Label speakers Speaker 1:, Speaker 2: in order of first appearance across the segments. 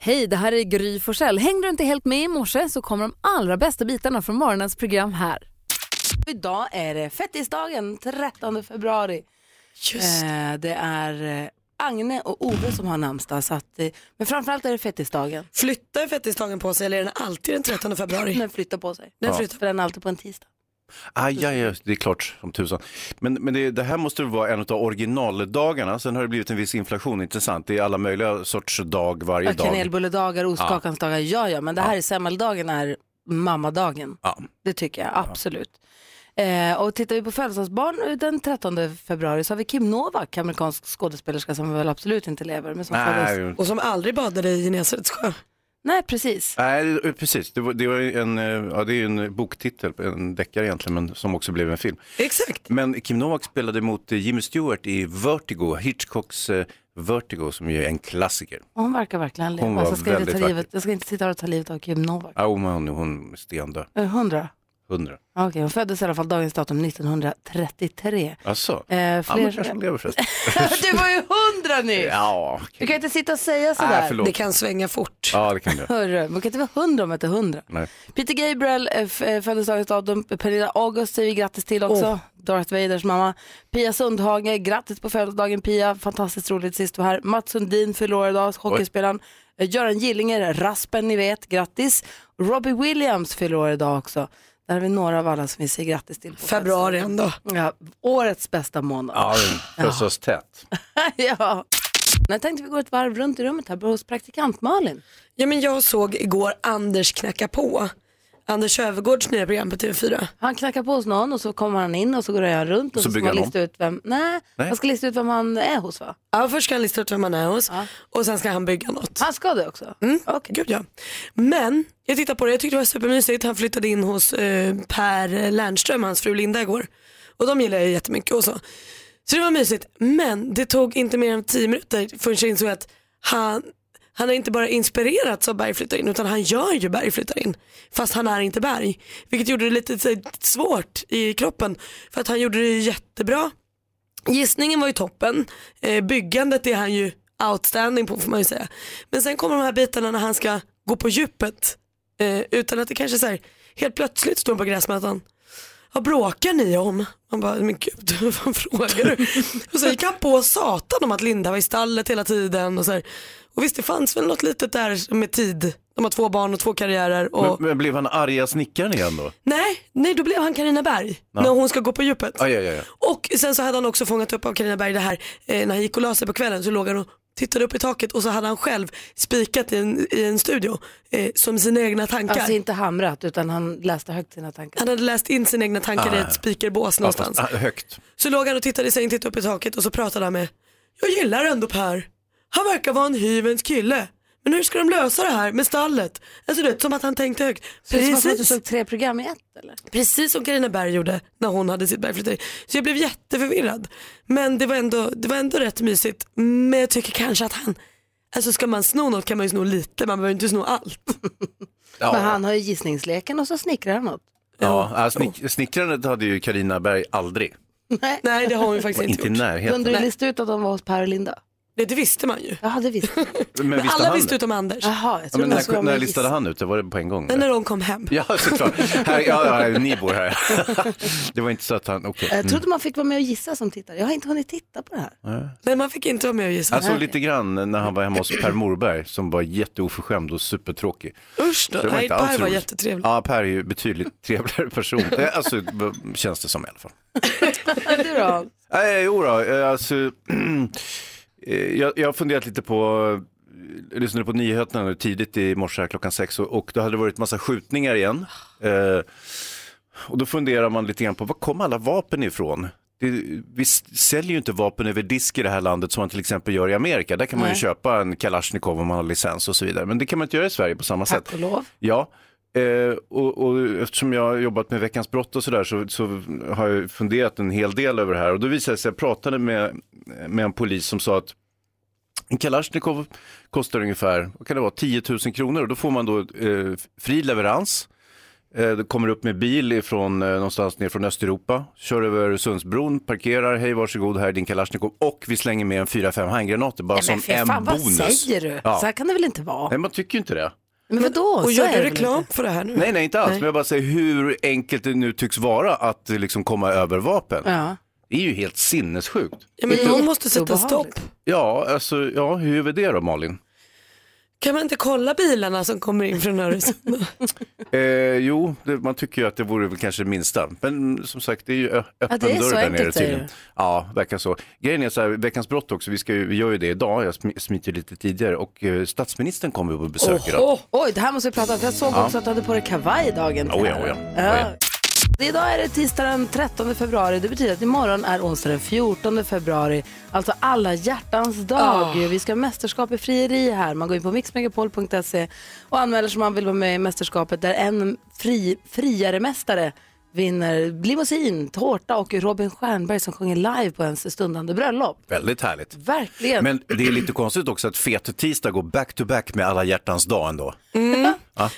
Speaker 1: Hej, det här är Gry Forssell. Hängde du inte helt med i morse så kommer de allra bästa bitarna från morgonens program här. Idag är det fettisdagen, 13 februari.
Speaker 2: Just
Speaker 1: Eh, det är eh, Agne och Ove som har namnsdag, så att, eh, men framförallt är det fettisdagen.
Speaker 2: Flyttar fettisdagen på sig eller är den alltid den 13 februari?
Speaker 1: Den flyttar på sig,
Speaker 2: Den
Speaker 3: Ja.
Speaker 2: flyttar
Speaker 1: för den är alltid på en tisdag.
Speaker 3: Aj, aj, aj, Ah, det är klart som tusan. Men, men det, det här måste väl vara en av originaldagarna. Sen har det blivit en viss inflation, intressant. Det är alla möjliga sorts dag varje
Speaker 1: Ja,
Speaker 3: dag.
Speaker 1: Kanelbulledagar, ostkakans dagar, ja ja, men det här är semmeldagen är mammadagen.
Speaker 3: Ja.
Speaker 1: Det tycker jag absolut. Eh, och tittar vi på födelsedagsbarn eh, den 13 februari så har vi Kim Novak, amerikansk skådespelerska som väl absolut inte lever. Men som föddes.
Speaker 3: Nej,
Speaker 2: Och som aldrig badade i Genesarets sjö.
Speaker 1: Nej, precis.
Speaker 3: nej, precis. Det, var, det, var en, eh, ja, det är ju en boktitel, en deckare egentligen, men som också blev en film.
Speaker 2: Exakt.
Speaker 3: Men Kim Novak spelade mot eh, Jimmy Stewart i Vertigo, Hitchcocks eh, Vertigo, som ju är en klassiker.
Speaker 1: Och Hon verkar verkligen leva.
Speaker 3: Hon var
Speaker 1: så ska jag, inte ta
Speaker 3: väldigt
Speaker 1: livet, jag ska inte sitta här och ta livet av Kim Novak.
Speaker 3: Ja, oh, hon, hon är stendöd.
Speaker 1: Eh, 100?
Speaker 3: Hundra.
Speaker 1: Ja, Okej, hon föddes i alla fall dagens datum 1933.
Speaker 3: Alltså,
Speaker 1: Eh,
Speaker 3: ja, men
Speaker 1: fler...
Speaker 3: kanske hon lever förresten.
Speaker 1: du var ju 100 nyss!
Speaker 3: Ja,
Speaker 1: Du
Speaker 3: okej.
Speaker 1: kan inte sitta och säga
Speaker 3: Nej,
Speaker 1: sådär.
Speaker 3: förlåt.
Speaker 2: Det kan svänga fort.
Speaker 3: Ja, det kan du.
Speaker 1: Hörru, man kan inte vara hundra om man inte är hundra.
Speaker 3: Nej.
Speaker 1: Peter Gabriel eh, f- eh, föddes dagens datum. Pernilla August säger vi grattis till också.
Speaker 2: Åh.
Speaker 1: Darth Vaders mamma. Pia Sundhage, grattis på födelsedagen Pia. Fantastiskt roligt sist du var här. Mats Sundin förlorar idag, hockeyspelaren. Eh, Göran Gillinger, Raspen ni vet, grattis. Robbie Williams förlorar idag också. Där har vi några av alla som vi säger grattis till. på
Speaker 2: Februari ändå.
Speaker 1: födelsedagen. Ja, årets bästa månad.
Speaker 3: Ja, den följs oss tätt.
Speaker 1: ja. Nu tänkte vi gå ett varv runt i rummet här hos praktikant Malin.
Speaker 2: Ja, men jag såg igår Anders knacka på. Anders Övergårds nya program på TV4.
Speaker 1: Han knackar på hos någon och så kommer han in och så går han runt och så,
Speaker 3: Så
Speaker 1: ska
Speaker 3: bygger
Speaker 1: man
Speaker 3: han om.
Speaker 1: lista ut vem, nej,
Speaker 3: Nej.
Speaker 1: man ska lista ut vem han är hos va?
Speaker 2: Ja, först ska han lista ut vem han är hos och sen ska han bygga något.
Speaker 1: Han ska det också?
Speaker 2: Mm, Gud ja. Men jag tittade på det, jag tyckte det var supermysigt. Han flyttade in hos eh, Per Lernström, hans fru Linda igår. Och de gillar jag jättemycket och så. Så det var mysigt. Men det tog inte mer än 10 minuter förrän jag insåg att han, han är inte bara inspirerats av Berg flyttar in utan han gör ju Berg flyttar in. Fast han är inte Berg. Vilket gjorde det lite så här, svårt i kroppen. För att han gjorde det jättebra. Gissningen var ju toppen. Eh, byggandet är han ju outstanding på får man ju säga. Men sen kommer de här bitarna när han ska gå på djupet. Eh, utan att det kanske så här, helt plötsligt står han på gräsmattan. Vad bråkar ni om? Man bara, men gud vad fan frågar du? Och så gick han på satan om att Linda var i stallet hela tiden. Och, så här. och visst det fanns väl något litet där med tid. De har två barn och två karriärer. Och...
Speaker 3: Men, men blev han arga snickaren igen då?
Speaker 2: Nej, nej då blev han Carina Berg när hon ska gå på djupet.
Speaker 3: Aj, aj, aj.
Speaker 2: Och sen så hade han också fångat upp av Carina Berg det här, eh, när han gick och la sig på kvällen så låg han och tittade upp i taket och så hade han själv spikat i en, i en studio eh, som sina egna tankar.
Speaker 1: Alltså inte hamrat utan han läste högt sina tankar.
Speaker 2: han hade läst in sina egna tankar i ett spikerbås
Speaker 3: Ah. Ja,
Speaker 2: någonstans.
Speaker 3: fast, ah, högt.
Speaker 2: Så låg han och tittade i sängen, tittade upp i taket och så pratade han med, jag gillar ändå Per. Han verkar vara en hyvens kille. Men hur ska de lösa det här med stallet? Alltså du vet, som att han tänkte högt.
Speaker 1: Precis. Det var att du såg tre program i ett eller?
Speaker 2: Precis som Carina Berg gjorde när hon hade sitt bergflytteri. Så jag blev jätteförvirrad. Men det var, ändå, det var ändå rätt mysigt. Men jag tycker kanske att han, alltså ska man sno något kan man ju sno lite, man behöver inte sno allt.
Speaker 1: Men
Speaker 3: Ja,
Speaker 1: han har ju gissningsleken och så snickrar han något.
Speaker 3: ja, ah, snick, snickrandet hade ju Karina Berg aldrig.
Speaker 1: Nej.
Speaker 2: Nej det har hon ju faktiskt inte
Speaker 3: Inte i
Speaker 2: gjort.
Speaker 3: närheten.
Speaker 1: Kunde du lista ut att de var hos Per och Linda?
Speaker 2: Det, det visste man ju.
Speaker 1: Ja, det visste jag.
Speaker 3: Men
Speaker 2: Men
Speaker 3: visste
Speaker 2: alla
Speaker 3: han
Speaker 2: visste
Speaker 3: det?
Speaker 2: utom Anders.
Speaker 1: Jaha, jag
Speaker 3: Ja,
Speaker 1: trodde
Speaker 3: men
Speaker 1: man
Speaker 3: när,
Speaker 1: skulle
Speaker 3: när
Speaker 1: vara
Speaker 3: listade
Speaker 1: giss-
Speaker 3: han ut det? Var det på en gång?
Speaker 2: Men
Speaker 3: eller?
Speaker 2: när de kom hem.
Speaker 3: Ja, såklart. Här, ja, ja, ni bor här. Det var inte så att han, okej.
Speaker 1: Jag trodde man fick vara med och gissa som tittare. Jag har inte hunnit titta på det här.
Speaker 2: Nej man fick inte vara med och gissa.
Speaker 3: Mm. Jag såg lite grann när han var hemma hos Per Morberg som var jätteoförskämd och supertråkig.
Speaker 2: Usch då.
Speaker 3: Det var
Speaker 2: Nej
Speaker 3: inte
Speaker 2: Per
Speaker 3: alls
Speaker 2: var
Speaker 3: roligt.
Speaker 2: jättetrevlig.
Speaker 3: Ja, Per är ju betydligt trevligare person. Eh, Alltså, b- känns det som i alla fall.
Speaker 1: Du då?
Speaker 3: Nej, jo då, eh, alltså, eh, jag, jag har funderat lite på, jag lyssnade på nyheterna nu tidigt i morse här, klockan sex och, och då hade det varit massa skjutningar igen. Eh, och då funderar man lite grann på var kom alla vapen ifrån? Det, vi s- säljer ju inte vapen över disk i det här landet som man till exempel gör i Amerika. Där kan man
Speaker 1: Nej.
Speaker 3: ju köpa en Kalashnikov om man har licens och så vidare. Men det kan man inte göra i Sverige på samma sätt.
Speaker 1: Tack och lov.
Speaker 3: Ja, eh, och, och eftersom jag har jobbat med Veckans brott och sådär så, så har jag funderat en hel del över det här. Och då visade det sig, jag pratade med, med en polis som sa att en Kalashnikov kostar ungefär, vad kan det vara, 10 000 kronor och då får man då eh, fri leverans Eh, det kommer upp med bil ifrån, eh, någonstans ner från Östeuropa, kör över Sundsbron, parkerar, hej varsågod här är din Kalashnikov och vi slänger med en 4-5 handgranater bara
Speaker 1: Nej, men
Speaker 3: som
Speaker 1: för
Speaker 3: en
Speaker 1: fan, vad
Speaker 3: bonus.
Speaker 1: säger du?
Speaker 3: Ja.
Speaker 1: Så här kan det väl inte vara?
Speaker 3: Nej, man tycker ju inte det.
Speaker 1: Men vadå? Så
Speaker 2: Och gör
Speaker 1: är det
Speaker 2: du
Speaker 1: väl
Speaker 2: reklam
Speaker 1: inte?
Speaker 2: för det här nu?
Speaker 3: Nej, nej, inte alls. Men jag bara säger hur enkelt det nu tycks vara att eh, liksom komma över vapen.
Speaker 1: Ja.
Speaker 3: Det är ju helt sinnessjukt.
Speaker 2: Ja, men
Speaker 1: Det är
Speaker 2: någon måste sätta stopp.
Speaker 1: jätteobehagligt.
Speaker 3: Ja, alltså, ja, hur gör vi det då Malin?
Speaker 2: Kan man inte kolla bilarna som kommer in från Öresund?
Speaker 3: Eh, jo, det, man tycker ju att det vore väl kanske det minsta. Men som sagt, det är ju ö- öppen
Speaker 1: det är
Speaker 3: dörr
Speaker 1: så
Speaker 3: där
Speaker 1: enkelt,
Speaker 3: nere
Speaker 1: säger
Speaker 3: tydligen.
Speaker 1: du.
Speaker 3: Ja, verkar så. Grejen är så här, Veckans brott också, vi, ska, ju- vi gör ju det idag, jag sm- smiter lite tidigare och eh, statsministern kommer ju på besök idag.
Speaker 2: Åh,
Speaker 1: Oj, det här måste vi prata om. För jag såg också att du hade på dig kavaj dagen till
Speaker 3: Oh ja,
Speaker 1: ära.
Speaker 3: oh ja. Oh
Speaker 1: Det- Idag är det tisdag den 13 februari. Det betyder att imorgon är onsdag den 14 februari. Alltså alla hjärtans dag. Vi ska ha mästerskap i frieri här. Man går in på mixmegapol.se och anmäler sig om man vill vara med i mästerskapet där en fri, friare mästare vinner limousin, tårta och Robin Stjernberg som sjunger live på ens stundande bröllop.
Speaker 3: Väldigt härligt.
Speaker 1: Verkligen.
Speaker 3: Men det är lite konstigt också att fet tisdag går back to back med alla hjärtans dag ändå.
Speaker 2: Mm. men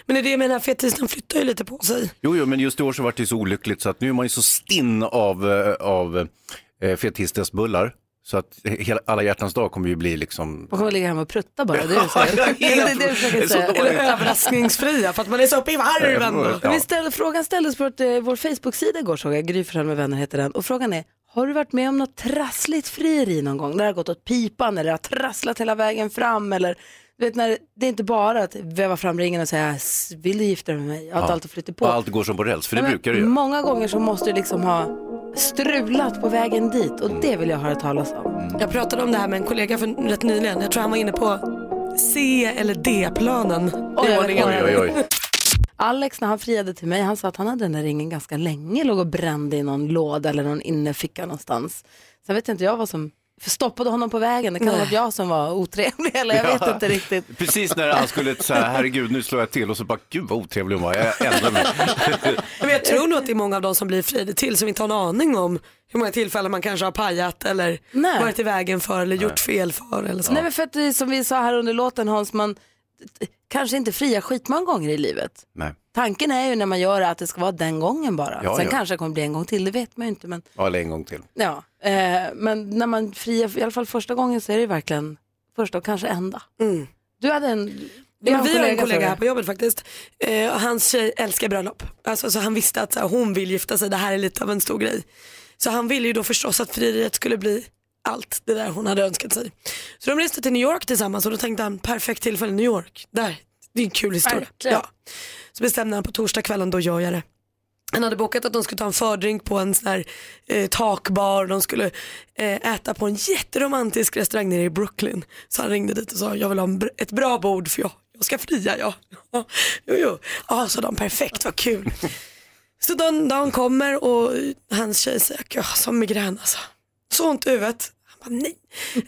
Speaker 2: det är det jag menar, fettisdagen flyttar ju lite på sig.
Speaker 3: Jo, jo, men just i år så var det ju så olyckligt så att nu är man ju så stinn av, eh, av eh, fetistas bullar så att eh, hela, alla hjärtans dag kommer ju bli liksom
Speaker 1: Man kommer ligga hemma och prutta bara. Det är det du säger. det är det du försöker
Speaker 3: Så
Speaker 1: säga.
Speaker 3: dåligt.
Speaker 2: Eller överraskningsfria för att man är så uppe i varven.
Speaker 1: Men
Speaker 3: Ja.
Speaker 1: vi ställde, frågan ställdes på vårt, eh, vår Facebook-sida igår såg jag, Gry Forssell med vänner heter den. Och frågan är, har du varit med om något trassligt frieri någon gång? När det har gått åt pipan eller har trasslat hela vägen fram eller du vet, när det är inte bara att väva fram ringen och säga "S- vill du gifta dig med mig? Att allt flyter på.
Speaker 3: och allt går som på räls, för det
Speaker 1: Men
Speaker 3: brukar det ju.
Speaker 1: Många gånger så måste du liksom ha strulat på vägen dit
Speaker 3: Mm.
Speaker 1: och det vill jag höra talas om.
Speaker 2: Jag pratade om det här med en kollega för rätt nyligen. Jag tror han var inne på C eller D-planen.
Speaker 1: Oj,
Speaker 2: i
Speaker 1: oj,
Speaker 2: ordningen.
Speaker 3: Oj, oj, oj.
Speaker 1: Alex när han friade till mig, han sa att han hade den där ringen ganska länge, låg och brände i någon låda eller någon inneficka någonstans. Sen vet inte jag vad som stoppade honom på vägen, det kan ha varit jag som var otrevlig eller jag vet inte riktigt.
Speaker 3: Precis när han skulle säga herregud nu slår jag till och så bara gud vad otrevlig hon var, jag ändrar mig.
Speaker 2: Men jag tror nog att det är många av de som blir friade till som inte har en aning om hur många tillfällen man kanske har pajat eller
Speaker 1: Nej.
Speaker 2: varit i vägen för eller gjort fel för eller så.
Speaker 1: Nej men för att det är som vi sa här under låten Hans, man t- kanske inte fria skitmånga gånger i livet.
Speaker 3: Nej,
Speaker 1: Tanken är ju när man gör det att det ska vara den gången bara.
Speaker 3: Ja,
Speaker 1: Sen
Speaker 3: ja.
Speaker 1: kanske det kommer bli en gång till, det vet man ju inte. Men,
Speaker 3: Ja, eller en gång till.
Speaker 1: ja. eh, men när man friar, i alla fall första gången så är det ju verkligen första och kanske enda.
Speaker 2: Mm.
Speaker 1: Du hade en...
Speaker 2: Ja, men vi har en
Speaker 1: sa du.
Speaker 2: kollega här på jobbet faktiskt. Eh, och hans tjej älskar bröllop. Alltså, så han visste att så här, hon vill gifta sig, det här är lite av en stor grej. Så han ville ju då förstås att frieriet skulle bli allt det där hon hade önskat sig. Så de reste till New York tillsammans och då tänkte han perfekt tillfälle New York. Där, det är en kul historia.
Speaker 1: Verkligen.
Speaker 2: Så bestämde han på torsdagskvällen, då gör jag det. Han hade bokat att de skulle ta en fördrink på en sån här eh, takbar. De skulle eh, äta på en jätteromantisk restaurang nere i Brooklyn. Så han ringde dit och sa jag vill ha en, br- ett bra bord för jag, jag ska fria jag. Ja, jo, jo. Ja, sa de, perfekt, vad kul. Så den dagen kommer och hans tjej säger, jag har sån migrän alltså. Så ont i huvudet. Han bara, nej.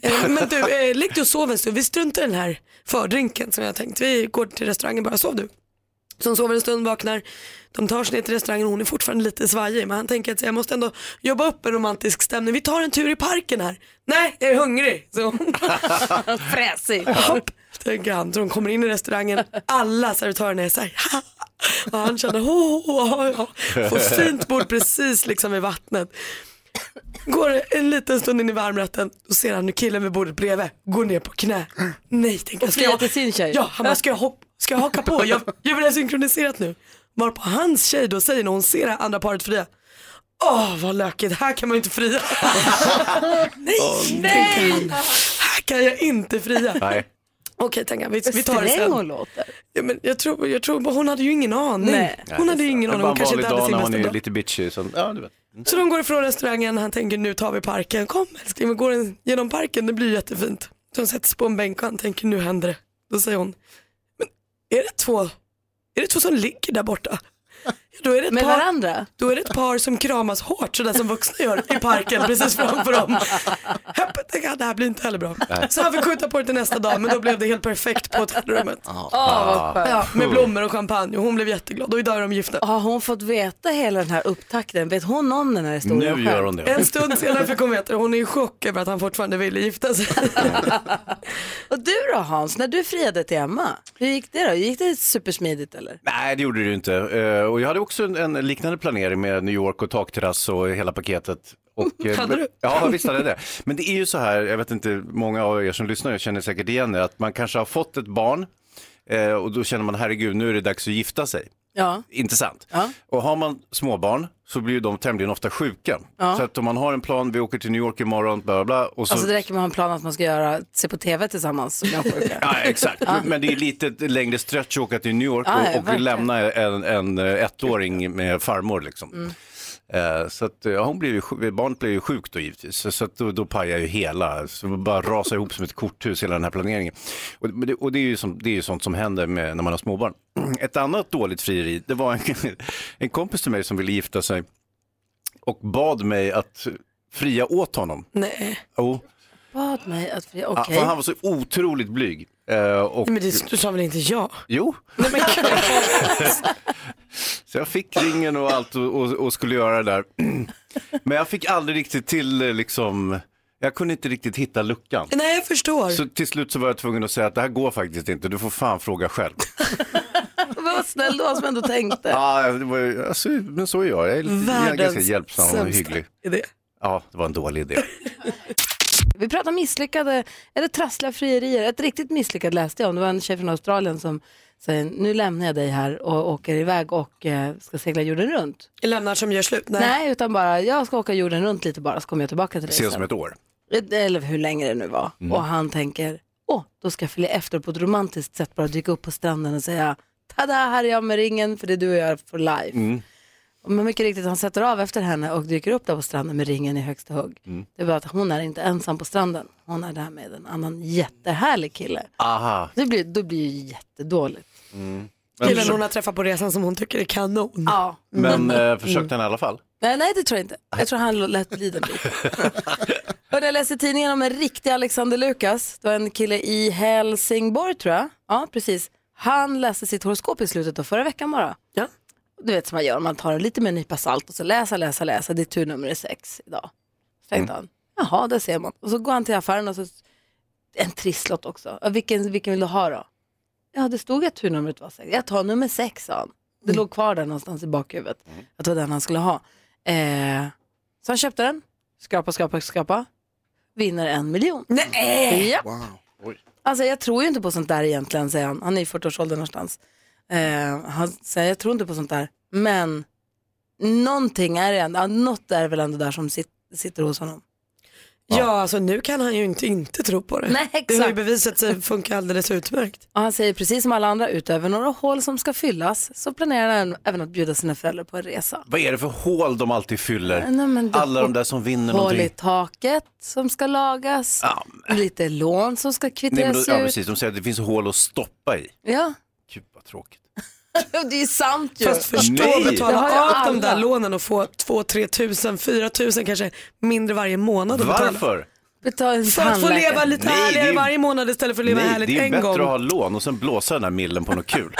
Speaker 2: Eh, Men du, eh, lägg dig och sov en stund. Vi struntar i den här fördrinken som jag tänkt. Vi går till restaurangen bara, sov du. Så hon sover en stund, vaknar. De tar sig ner till restaurangen och hon är fortfarande lite svajig. Men han tänker att så jag måste ändå jobba upp en romantisk stämning. Vi tar en tur i parken här. Nej, jag är hungrig. Så hon
Speaker 1: Fräsig.
Speaker 2: Hopp, tänker han. Så de kommer in i restaurangen, alla servitörerna är så här, "Ha!" och han känner, oh, oh, oh, oh. får fint bord precis liksom vid vattnet. Går det en liten stund in i varmrätten, då ser han hur killen vid bordet bredvid går ner på knä. Nej, tänker han.
Speaker 1: friar till sin tjej.
Speaker 2: Ja, han bara, ska jag, hopp, ska jag haka på? Jag, jag vill ha synkroniserat nu. Varpå hans tjej då säger när hon ser det andra paret fria, Åh vad lökigt, här kan man ju inte fria. nej, tänker han. Här kan jag inte fria.
Speaker 3: Nej.
Speaker 2: Okej, tänker jag. Vi, vi tar det
Speaker 1: Sträng hon
Speaker 2: sen.
Speaker 1: låter.
Speaker 2: Ja, men jag, tror, jag tror, hon hade ju ingen aning.
Speaker 1: Nej.
Speaker 2: Hon hade ju ingen
Speaker 3: Det är
Speaker 2: aning.
Speaker 3: bara
Speaker 2: Hon
Speaker 3: en
Speaker 2: kanske
Speaker 3: vanlig
Speaker 2: inte hade
Speaker 3: dag
Speaker 2: sin
Speaker 3: när hon
Speaker 2: bästa
Speaker 3: är
Speaker 2: dag.
Speaker 3: lite bitchy. Så, ja, du vet.
Speaker 2: Så de går ifrån restaurangen. Han tänker nu tar vi parken. Kom älskling, vi går en- genom parken. Det blir jättefint. Så hon sätter sig på en bänk och han tänker nu händer det. Då säger hon, men är det två, är det två som ligger där borta? Då är det ett
Speaker 1: Med
Speaker 2: par,
Speaker 1: varandra?
Speaker 2: Då är det ett par som kramas hårt sådär som vuxna gör i parken precis framför dem. Hopp, tänk, ah, det här blir inte heller bra. Så han fick skjuta på det till nästa dag men då blev det helt perfekt på hotellrummet.
Speaker 3: Ah.
Speaker 1: Ah, vad skönt.
Speaker 2: Ja, med blommor och champagne och hon blev jätteglad och idag är de gifta.
Speaker 1: Har hon fått veta hela den här upptakten? Vet hon om den här historien
Speaker 3: Nu
Speaker 1: själv?
Speaker 3: gör hon det.
Speaker 2: En stund senare fick hon veta det. Hon är i chock över att han fortfarande ville gifta sig.
Speaker 1: Och du då Hans, när du friade till Emma, hur gick det då? Gick det supersmidigt eller?
Speaker 3: Nej, det gjorde det ju inte. Eh, Och jag hade också en, en liknande planering med New York och takterrass och hela paketet. Och, eh,
Speaker 2: Hade du?
Speaker 3: Ja, visst hade jag det. Men det är ju så här, jag vet inte, många av er som lyssnar känner säkert igen det, att man kanske har fått ett barn eh, och då känner man herregud, nu är det dags att gifta sig.
Speaker 1: Ja.
Speaker 3: Intressant.
Speaker 1: Ja.
Speaker 3: Och har man småbarn så blir ju de tämligen ofta sjuka. Så att om man har en plan, vi åker till New York imorgon, bla bla, bla och så...
Speaker 1: Alltså det räcker med att ha en plan att man ska göra, se på tv tillsammans som jag sjuka.
Speaker 3: Ja, exakt. Men det är lite längre stretch att åka till New York
Speaker 1: Ja, ja,
Speaker 3: och, och
Speaker 1: verkligen.
Speaker 3: lämna en, en eh, ettåring med farmor. Liksom.
Speaker 1: Mm.
Speaker 3: Eh, Så att, ja, hon blev ju, sjuk- barnet blev ju sjukt då givetvis, så, så att då, då pajar ju hela, så det bara rasar ihop som ett korthus hela den här planeringen. Och, men det, och det, är ju som, det är ju sånt som händer med, när man har småbarn. Ett annat dåligt frieri, det var en, en kompis till mig som ville gifta sig och bad mig att fria åt honom.
Speaker 2: Nej,
Speaker 3: Oh,
Speaker 1: Bad mig att fria,
Speaker 3: ja,
Speaker 1: okej.
Speaker 3: För han var så otroligt blyg. Eh, Och,
Speaker 2: men det du sa väl inte ja?
Speaker 3: Jo. så jag fick ringen och allt och, och, och skulle göra det där. Men jag fick aldrig riktigt till eh, liksom, jag kunde inte riktigt hitta luckan.
Speaker 2: Nej, jag förstår.
Speaker 3: Så till slut så var jag tvungen att säga att det här går faktiskt inte, du får fan fråga själv.
Speaker 1: Vad snäll du var som ändå tänkte.
Speaker 3: Ja, det var, ju- alltså, men så är jag, jag är, lite, jag är ganska
Speaker 2: Världens
Speaker 3: hjälpsam och
Speaker 2: sämsta
Speaker 3: hygglig.
Speaker 2: idé.
Speaker 3: Ja, det var en dålig idé.
Speaker 1: Vi pratar misslyckade eller trassliga frierier. Ett riktigt misslyckat läste jag om. Det var en tjej från Australien som säger nu lämnar jag dig här och åker iväg och eh, ska segla jorden runt.
Speaker 2: Lämnar som gör slut? Nej.
Speaker 1: Nej, utan bara jag ska åka jorden runt lite bara så kommer jag tillbaka till dig
Speaker 3: Ses
Speaker 1: sen.
Speaker 3: om ett år.
Speaker 1: eller hur länge det nu var. Och han tänker, åh, då ska jag följa efter på ett romantiskt sätt, bara dyka upp på stranden och säga, tada, här är jag med ringen, för det är du och jag for life.
Speaker 3: Mm.
Speaker 1: Men mycket riktigt, han sätter av efter henne och dyker upp där på stranden med ringen i högsta hugg.
Speaker 3: Mm.
Speaker 1: Det är bara att hon är inte ensam på stranden, hon är där med en annan jättehärlig kille.
Speaker 3: Aha. Mm.
Speaker 1: Det blir, då blir det ju jättedåligt.
Speaker 2: Killen hon har träffat på resan som hon tycker är kanon.
Speaker 1: Ja. Mm.
Speaker 3: Men eh, försökte han i alla fall?
Speaker 1: Nej, nej, det tror jag inte. Jag tror han lät bli den biten. Hörde, jag läste i tidningen om en riktig Alexander Lukas. Det var en kille i Helsingborg tror jag. Ja, precis. Han läste sitt horoskop i slutet av förra veckan bara.
Speaker 2: Ja.
Speaker 1: Du vet som man gör, man tar det lite med en nypa salt och så läsa, läsa, läsa. Det är tur nummer sex idag. Så tänkte han, jaha, där ser man. Och så går han till affären och så, en trisslott också. Ja, vilken, vilken vill du ha då? Ja, det stod att turnumret var sex. Jag tar nummer sex, sa han. Det låg kvar där någonstans i bakhuvudet. Att det var den han skulle ha. Eh, så han köpte den. Skrapa, skrapa, skrapa. Vinner en miljon. Nej! Ja. Alltså jag tror ju inte på sånt där egentligen, säger han. Han är i 40-årsåldern någonstans. Eh, han säger, jag tror inte på sånt där. Men någonting är det ändå, ja, något är väl ändå där som sit, sitter hos honom.
Speaker 2: Ja, alltså nu kan han ju inte inte tro på det.
Speaker 1: Nej,
Speaker 2: Det har ju
Speaker 1: exakt.
Speaker 2: bevisat sig funka alldeles utmärkt.
Speaker 1: Och han säger precis som alla andra, utöver några hål som ska fyllas så planerar han även att bjuda sina föräldrar på en resa.
Speaker 3: Vad är det för hål de alltid fyller?
Speaker 1: Nej, men det-
Speaker 3: Alla de där som vinner
Speaker 1: Hål i
Speaker 3: någonting.
Speaker 1: taket som ska lagas,
Speaker 3: Ja,
Speaker 1: lite lån som ska
Speaker 3: nej, men då,
Speaker 1: kvitteras
Speaker 3: ja,
Speaker 1: ut.
Speaker 3: precis. De säger att det finns hål att stoppa i.
Speaker 1: Ja,
Speaker 3: Gud vad tråkigt.
Speaker 1: det är ju sant ju.
Speaker 2: Fast förstå
Speaker 3: Nej.
Speaker 2: att
Speaker 1: Det har ju
Speaker 2: betala av de
Speaker 1: alla.
Speaker 2: där lånen och få 2-3 tusen, 4 tusen kanske mindre varje månad att betala.
Speaker 3: Varför?
Speaker 1: Betala en
Speaker 2: För att få
Speaker 1: tandläkare.
Speaker 2: leva lite
Speaker 3: Nej, det är-
Speaker 2: härligare varje månad istället för att leva
Speaker 3: Nej,
Speaker 2: härligt
Speaker 3: det är
Speaker 2: en
Speaker 3: bättre
Speaker 2: gång.
Speaker 3: att ha lån och sen blåsa den här millen på något kul.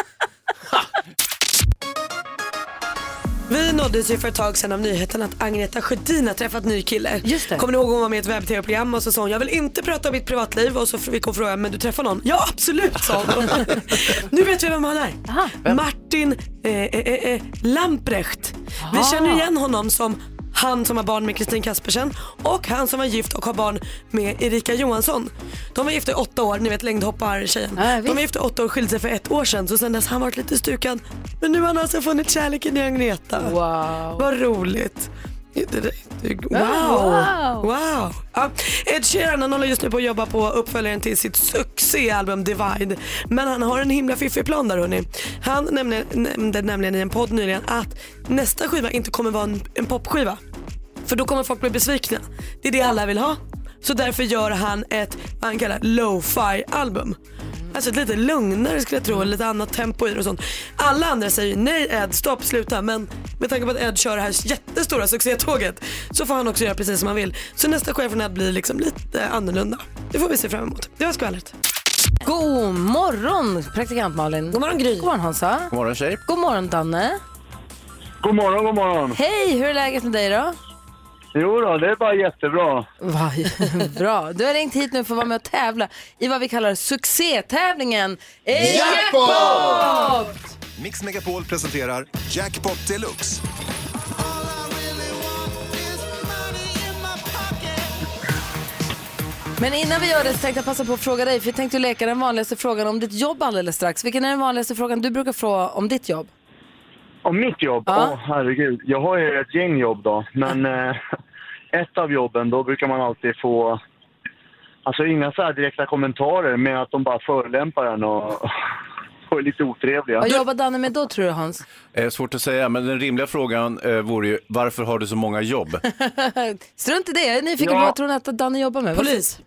Speaker 2: Vi nåddes ju för ett tag sedan av nyheten att Agneta Sjödin har träffat ny kille.
Speaker 1: Just det.
Speaker 2: Kommer ni ihåg hon var med i ett webb-tv-program och så sa hon jag vill inte prata om mitt privatliv och så fick hon frågan men du träffar någon? Ja absolut sa hon. nu vet vi vem han är. Martin eh, eh, eh, eh, Lamprecht. Vi känner igen honom som han som har barn med Kristin Kaspersen och han som var gift och har barn med Erika Johansson. De var gifta i åtta år, ni vet längdhoppar-tjejen.
Speaker 1: Ja,
Speaker 2: De
Speaker 1: visst.
Speaker 2: är gifta i åtta år och skilde sig för ett år sedan så sen dess har han varit lite stukad. Men nu har han alltså funnit kärleken i Agneta.
Speaker 1: Wow.
Speaker 2: Vad roligt. Det- det- det- Wow.
Speaker 1: Wow.
Speaker 2: wow. Ja. Ed Sheeran han håller just nu på att jobba på uppföljaren till sitt succéalbum Divide. Men han har en himla fiffig plan där hörni. Han nämnde, nämnde nämligen i en podd nyligen att nästa skiva inte kommer vara en, en popskiva. För då kommer folk bli besvikna. Det är det alla vill ha. Så därför gör han ett, vad han kallar, lo-fi album. Alltså ett lite lugnare skulle jag tro, lite annat tempo i det och sånt. Alla andra säger ju nej Ed, stopp, sluta. Men med tanke på att Ed kör det här jättestora succétåget så får han också göra precis som han vill. Så nästa chef från Ed blir liksom lite annorlunda. Det får vi se fram emot. Det var skvallret.
Speaker 1: God morgon praktikant Malin. God
Speaker 2: morgon Gry.
Speaker 1: God morgon Hansa.
Speaker 3: God morgon tjejer.
Speaker 1: God morgon Danne.
Speaker 4: God morgon, god morgon.
Speaker 1: Hej, hur är läget med dig då?
Speaker 4: Jo då, det är bara jättebra.
Speaker 1: Va, Mm, bra. Du har ringt hit nu för att vara med och tävla i vad vi kallar succétävlingen Eh, Jackpot!
Speaker 5: Mix Megapol presenterar Jackpot Deluxe.
Speaker 1: Men innan vi gör det så tänkte jag passa på att fråga dig, för jag tänkte leka den vanligaste frågan om ditt jobb alldeles strax. Vilken är den vanligaste frågan du brukar fråga om ditt jobb?
Speaker 4: Och mitt jobb? Åh,
Speaker 1: Ja.
Speaker 4: herregud. Jag har ju ett gäng jobb då, men eh, ett av jobben, då brukar man alltid få... Alltså inga så här direkta kommentarer, men att de bara förolämpar en och, och är lite otrevliga.
Speaker 1: Vad jobbar Danne med då tror du Hans?
Speaker 3: Eh, svårt att säga, men den rimliga frågan eh, vore ju varför har du så många jobb?
Speaker 1: Strunt i det, jag är nyfiken på
Speaker 4: Ja.
Speaker 1: vad tror ni att Danne jobbar med? Vad-
Speaker 2: Polis.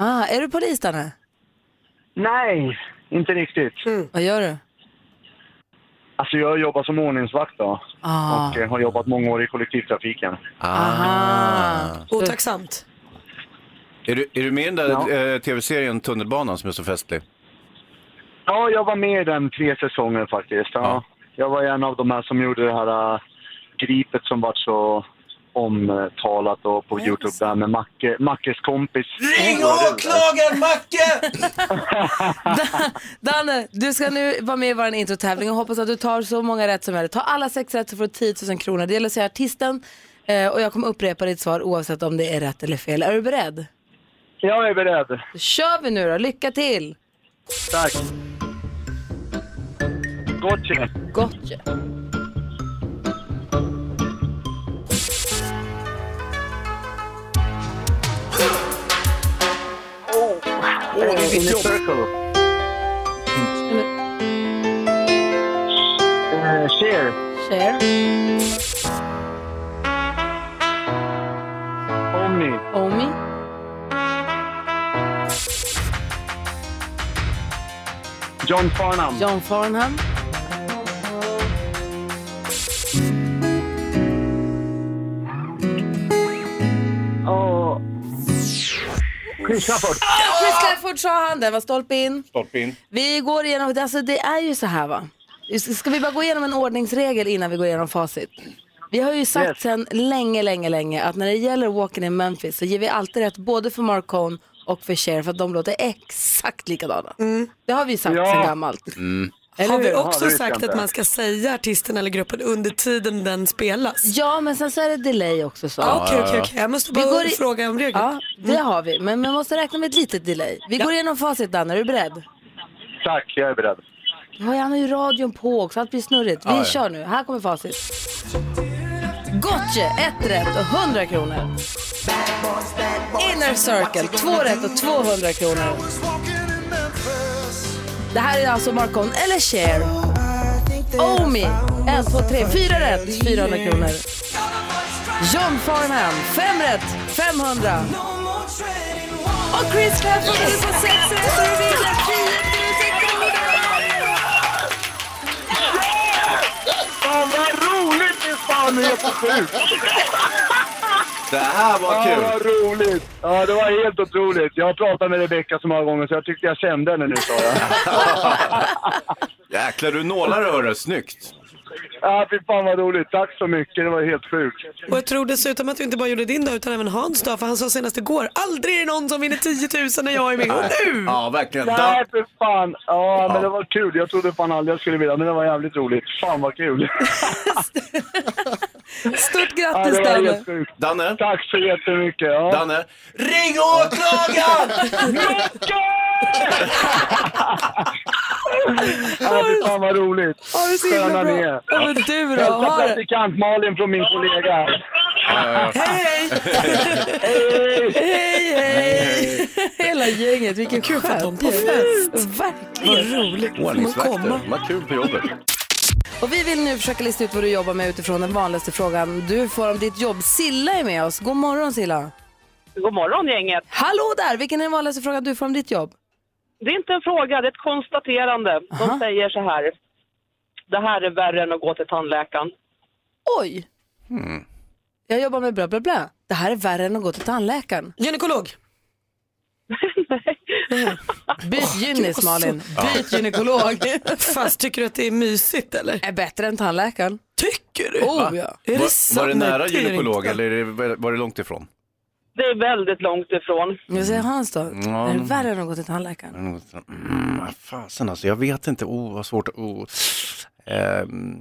Speaker 1: Ah, är du polis Danne?
Speaker 4: Nej, inte riktigt.
Speaker 1: Vad gör du?
Speaker 4: Alltså jag jobbar som ordningsvakt då
Speaker 1: Ah.
Speaker 4: och eh, har jobbat många år i kollektivtrafiken.
Speaker 3: Ah.
Speaker 1: Aha.
Speaker 2: Otacksamt.
Speaker 3: Är du, är du med i den där
Speaker 4: Ja.
Speaker 3: eh, tv-serien Tunnelbanan som är så festlig?
Speaker 4: Ja, jag var med i den tre säsonger faktiskt. Ja.
Speaker 3: Ja.
Speaker 4: Jag var en av de här som gjorde det här äh, gripet som var så omtalat och på Youtube där med Macke, Mackes kompis.
Speaker 6: Ring åklagaren Macke!
Speaker 1: Danne, du ska nu vara med i vår introtävling och hoppas att du tar så många rätt som möjligt. Ta alla sex rätt så får du 10 000 kronor. Det gäller att säga artisten eh, och jag kommer upprepa ditt svar oavsett om det är rätt eller fel. Är du beredd?
Speaker 4: Jag är beredd.
Speaker 1: Då kör vi nu då, lycka till!
Speaker 4: Tack. Gotcha.
Speaker 1: Gotcha.
Speaker 4: In a circle. Eh, Cher.
Speaker 1: Cher,
Speaker 4: Omni.
Speaker 1: Omi,
Speaker 4: John Farnham.
Speaker 1: John Farnham,
Speaker 4: Och... Chris Stafford.
Speaker 1: Chris Clafford Ah! sa han, den var stolpe in.
Speaker 3: Stolpe in.
Speaker 1: Vi går igenom, alltså det är ju så här va. Ska vi bara gå igenom en ordningsregel innan vi går igenom facit? Vi har ju sagt
Speaker 4: Yes.
Speaker 1: sedan länge, länge, länge att när det gäller Walking in Memphis så ger vi alltid rätt både för Mark Cohn och för Cher för att de låter exakt likadana.
Speaker 2: Mm.
Speaker 1: Det har vi sagt
Speaker 4: Ja.
Speaker 1: sedan gammalt.
Speaker 3: Mm.
Speaker 1: Eller
Speaker 2: Har vi
Speaker 1: hur?
Speaker 4: Ja, det
Speaker 2: också
Speaker 4: vet jag
Speaker 2: sagt
Speaker 4: inte.
Speaker 2: att man ska säga artisten eller gruppen under tiden den spelas?
Speaker 1: Ja, men sen så är det delay också. Så.
Speaker 2: Ja, Okej, okej, okej. Jag måste
Speaker 1: Vi går
Speaker 2: bara
Speaker 1: i-
Speaker 2: fråga om Mm. regeln.
Speaker 1: Ja, det har vi. Men man måste räkna med ett litet delay. Vi går igenom facit, Danne. Är du beredd?
Speaker 4: Tack, jag är beredd.
Speaker 1: Ja, han har ju radion på också. Allt blir snurrigt. Vi kör nu. Här kommer facit. Gotche, ett rätt och 100 kronor. Inner Circle, två rätt och 200 kronor. Det här är alltså Marcon eller Cher. Omi, en, två, tre, fyra rätt, 400 kronor. John Farnham, fem rätt, 500. Och Chris Clafford är på sex rätt och du vinner 10 000 kronor!
Speaker 4: Fan vad roligt det är fan det är på sjukt!
Speaker 3: Det här var
Speaker 4: Ja,
Speaker 3: kul!
Speaker 4: vad roligt! Ja, det var helt otroligt. Jag har pratat med Rebecca så många gånger så jag tyckte jag kände henne nu, sa jag.
Speaker 3: Jäklar, du nålar hörru, snyggt!
Speaker 4: Ja, fy fan vad roligt. Tack så mycket. Det var helt sjukt.
Speaker 2: Och jag tror dessutom att du inte bara gjorde din dag utan även Hans dag för han sa senast igår, aldrig är det någon som vinner 10 000 när jag är med. Och nu!
Speaker 3: Ja, verkligen.
Speaker 4: Nej,
Speaker 3: Dan-
Speaker 4: för fan. Ja, men det var kul. Jag trodde fan aldrig jag skulle vilja, men det var jävligt roligt. Fan vad kul.
Speaker 1: Stort
Speaker 4: Ja,
Speaker 1: grattis
Speaker 4: det var
Speaker 1: Danne!
Speaker 4: helt sjukt.
Speaker 3: Danne?
Speaker 4: Tack så jättemycket. Ja.
Speaker 3: Danne?
Speaker 6: Ring åklagaren!
Speaker 4: Ja, fy fan vad roligt.
Speaker 1: Ha det så himla
Speaker 4: Sköna ni
Speaker 1: bra!
Speaker 4: är.
Speaker 1: Ja, men du då?
Speaker 4: Hälsa
Speaker 1: Ha det.
Speaker 4: praktikant Malin från min kollega här.
Speaker 2: Hej!
Speaker 1: Hej, hej! Hela gänget, vilken kul för dem på fest! Verkligen!
Speaker 3: Ordningsvakter. Vad kul på jobbet.
Speaker 1: Och vi vill nu försöka lista ut vad du jobbar med utifrån den vanligaste frågan du får om ditt jobb. Silla är med oss. God morgon Silla!
Speaker 7: God morgon gänget.
Speaker 1: Hallå där! Vilken är den vanligaste frågan du får om ditt jobb?
Speaker 7: Det är inte en fråga, det är ett konstaterande. De
Speaker 1: Aha.
Speaker 7: säger så här. Det här är värre än att gå till tandläkaren.
Speaker 1: Oj! Jag jobbar med bla bla bla. Det här är värre än att gå till tandläkaren.
Speaker 2: Gynekolog.
Speaker 1: Byt
Speaker 2: var
Speaker 1: gynis
Speaker 2: så-
Speaker 1: Malin. Byt gynekolog.
Speaker 2: Fast tycker du att det är mysigt eller?
Speaker 1: är bättre än tandläkaren.
Speaker 2: Tycker du?
Speaker 1: Oh ja.
Speaker 2: Är det
Speaker 3: Var,
Speaker 2: sant?
Speaker 3: var det nära
Speaker 2: Nej, är
Speaker 3: gynekolog
Speaker 2: inte.
Speaker 3: eller är det, var det långt ifrån?
Speaker 7: Det är väldigt långt ifrån.
Speaker 1: Jag säger Hans då. Är det värre än att gå till tandläkaren?
Speaker 3: Mm, vad fasen alltså, jag vet inte. Oh, vad svårt. Oh. Ehm,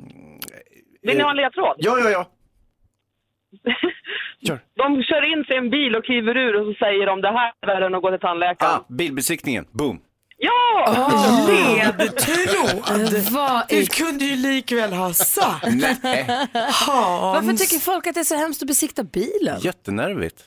Speaker 7: Vill ni
Speaker 3: eh,
Speaker 7: ha en ledtråd?
Speaker 3: Ja, ja, ja. Kör.
Speaker 7: De kör in sig i en bil och kliver ur och så säger de det här är värre än att gå till tandläkaren.
Speaker 3: Ah, bilbesiktningen. Boom.
Speaker 7: Ja!
Speaker 2: Ledtråd?
Speaker 1: Vad
Speaker 2: Ah. Du
Speaker 1: i...
Speaker 2: kunde ju likväl ha sagt.
Speaker 3: Nej,
Speaker 2: Hans.
Speaker 1: Varför tycker folk att det är så hemskt att besikta bilen?
Speaker 3: jättenervigt.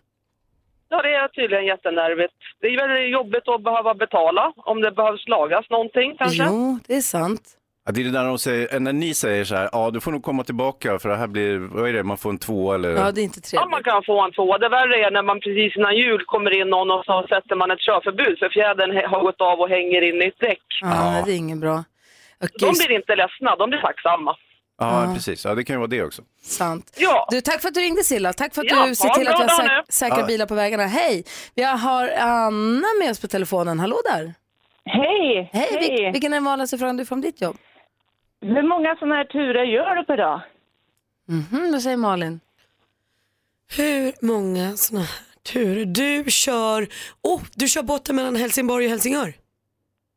Speaker 7: ja, det är tydligen jättenervigt. Det är väldigt jobbigt att behöva betala om det behövs lagas någonting kanske.
Speaker 1: Jo, det är sant.
Speaker 3: Ja, det är det där de säger, eh, när ni säger så här, ja du får nog komma tillbaka för det här blir, vad är det, man får en två eller?
Speaker 1: Ja, det är inte
Speaker 7: Ja, man
Speaker 1: trevligt.
Speaker 7: kan få en tvåa. Det värre är när man precis innan jul kommer in någon och så sätter man ett körförbud för fjädern hä- har gått av och hänger in i ett däck.
Speaker 1: Ja, det är inget bra. Åh,
Speaker 7: De
Speaker 1: gud,
Speaker 7: blir inte ledsna, de blir tacksamma.
Speaker 3: Ja, precis. Ja, det kan ju vara det också.
Speaker 1: sant.
Speaker 7: Ja.
Speaker 1: Du, tack för att du ringde Silla. Tack för att
Speaker 7: Ja,
Speaker 1: du ser
Speaker 7: ha en
Speaker 1: till att
Speaker 7: bra
Speaker 1: vi har
Speaker 7: dag
Speaker 1: säk-
Speaker 7: nu.
Speaker 1: säkra
Speaker 3: Ja.
Speaker 1: bilar på vägarna. Hej! Vi har Anna med oss på telefonen. Hallå där!
Speaker 8: Hej!
Speaker 1: Hej! Vil- vilken är den vanligaste frågan du får om ditt jobb?
Speaker 8: Hur många sådana här turer gör du per dag?
Speaker 1: Mhm, vad säger Malin?
Speaker 2: Hur många sådana här turer? Du kör, oh, du kör botten mellan Helsingborg och Helsingör.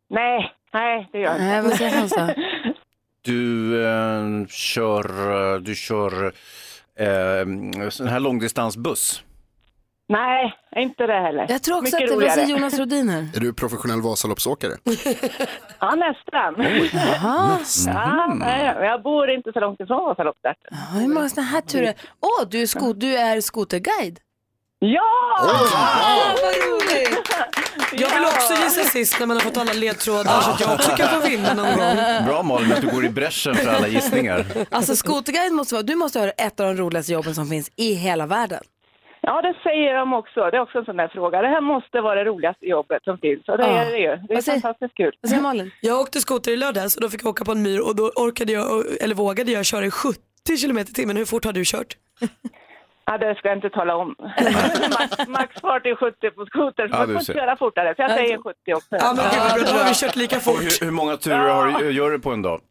Speaker 8: Nej, nej det gör jag
Speaker 1: Nej,
Speaker 8: inte.
Speaker 1: vad säger Hans då?
Speaker 3: Du eh, kör, eh, du kör eh, sån här långdistansbuss.
Speaker 8: Nej, inte det heller.
Speaker 1: Jag tror också
Speaker 8: Mycket
Speaker 1: att det, vad
Speaker 8: roligare.
Speaker 1: säger Jonas Rodin här?
Speaker 9: Är du professionell Vasaloppsåkare?
Speaker 8: Ja, nästan.
Speaker 1: Jaha,
Speaker 8: Ja, nej, men jag bor inte så långt ifrån Vasaloppet.
Speaker 1: ja, hur många sådana här turer? Åh, du, är sko- du är skoterguide.
Speaker 8: Ja!
Speaker 1: Vad roligt!
Speaker 2: Jag vill också gissa sist när man har fått alla ledtrådar så att jag också kan få vinna någon gång.
Speaker 3: Bra Malin att du går i bräschen för alla gissningar.
Speaker 1: Alltså skoterguide måste vara, du måste ha ett av de roligaste jobben som finns i hela världen.
Speaker 8: Ja, det säger de också. Det är också en sån där fråga. Det här måste vara det roligaste jobbet som finns. Och det
Speaker 1: Ja.
Speaker 8: är det ju. Det är
Speaker 1: Vad säger-
Speaker 8: fantastiskt kul.
Speaker 1: Vad säger Malin?
Speaker 2: Jag åkte skoter i lördags och då fick jag åka på en myr och då orkade jag, eller vågade jag köra i 70 km i timmen. Hur fort har du kört?
Speaker 8: Ja, det ska jag inte tala om. Max- Maxfart är 70 på skoter, så
Speaker 3: Ja,
Speaker 8: man
Speaker 3: du
Speaker 8: får inte
Speaker 3: ser.
Speaker 8: köra fortare. Så jag säger 70 också.
Speaker 2: Ja men gud vad bra, då har vi kört lika
Speaker 3: Och
Speaker 2: fort.
Speaker 3: hur, hur många turer har, gör du på en dag?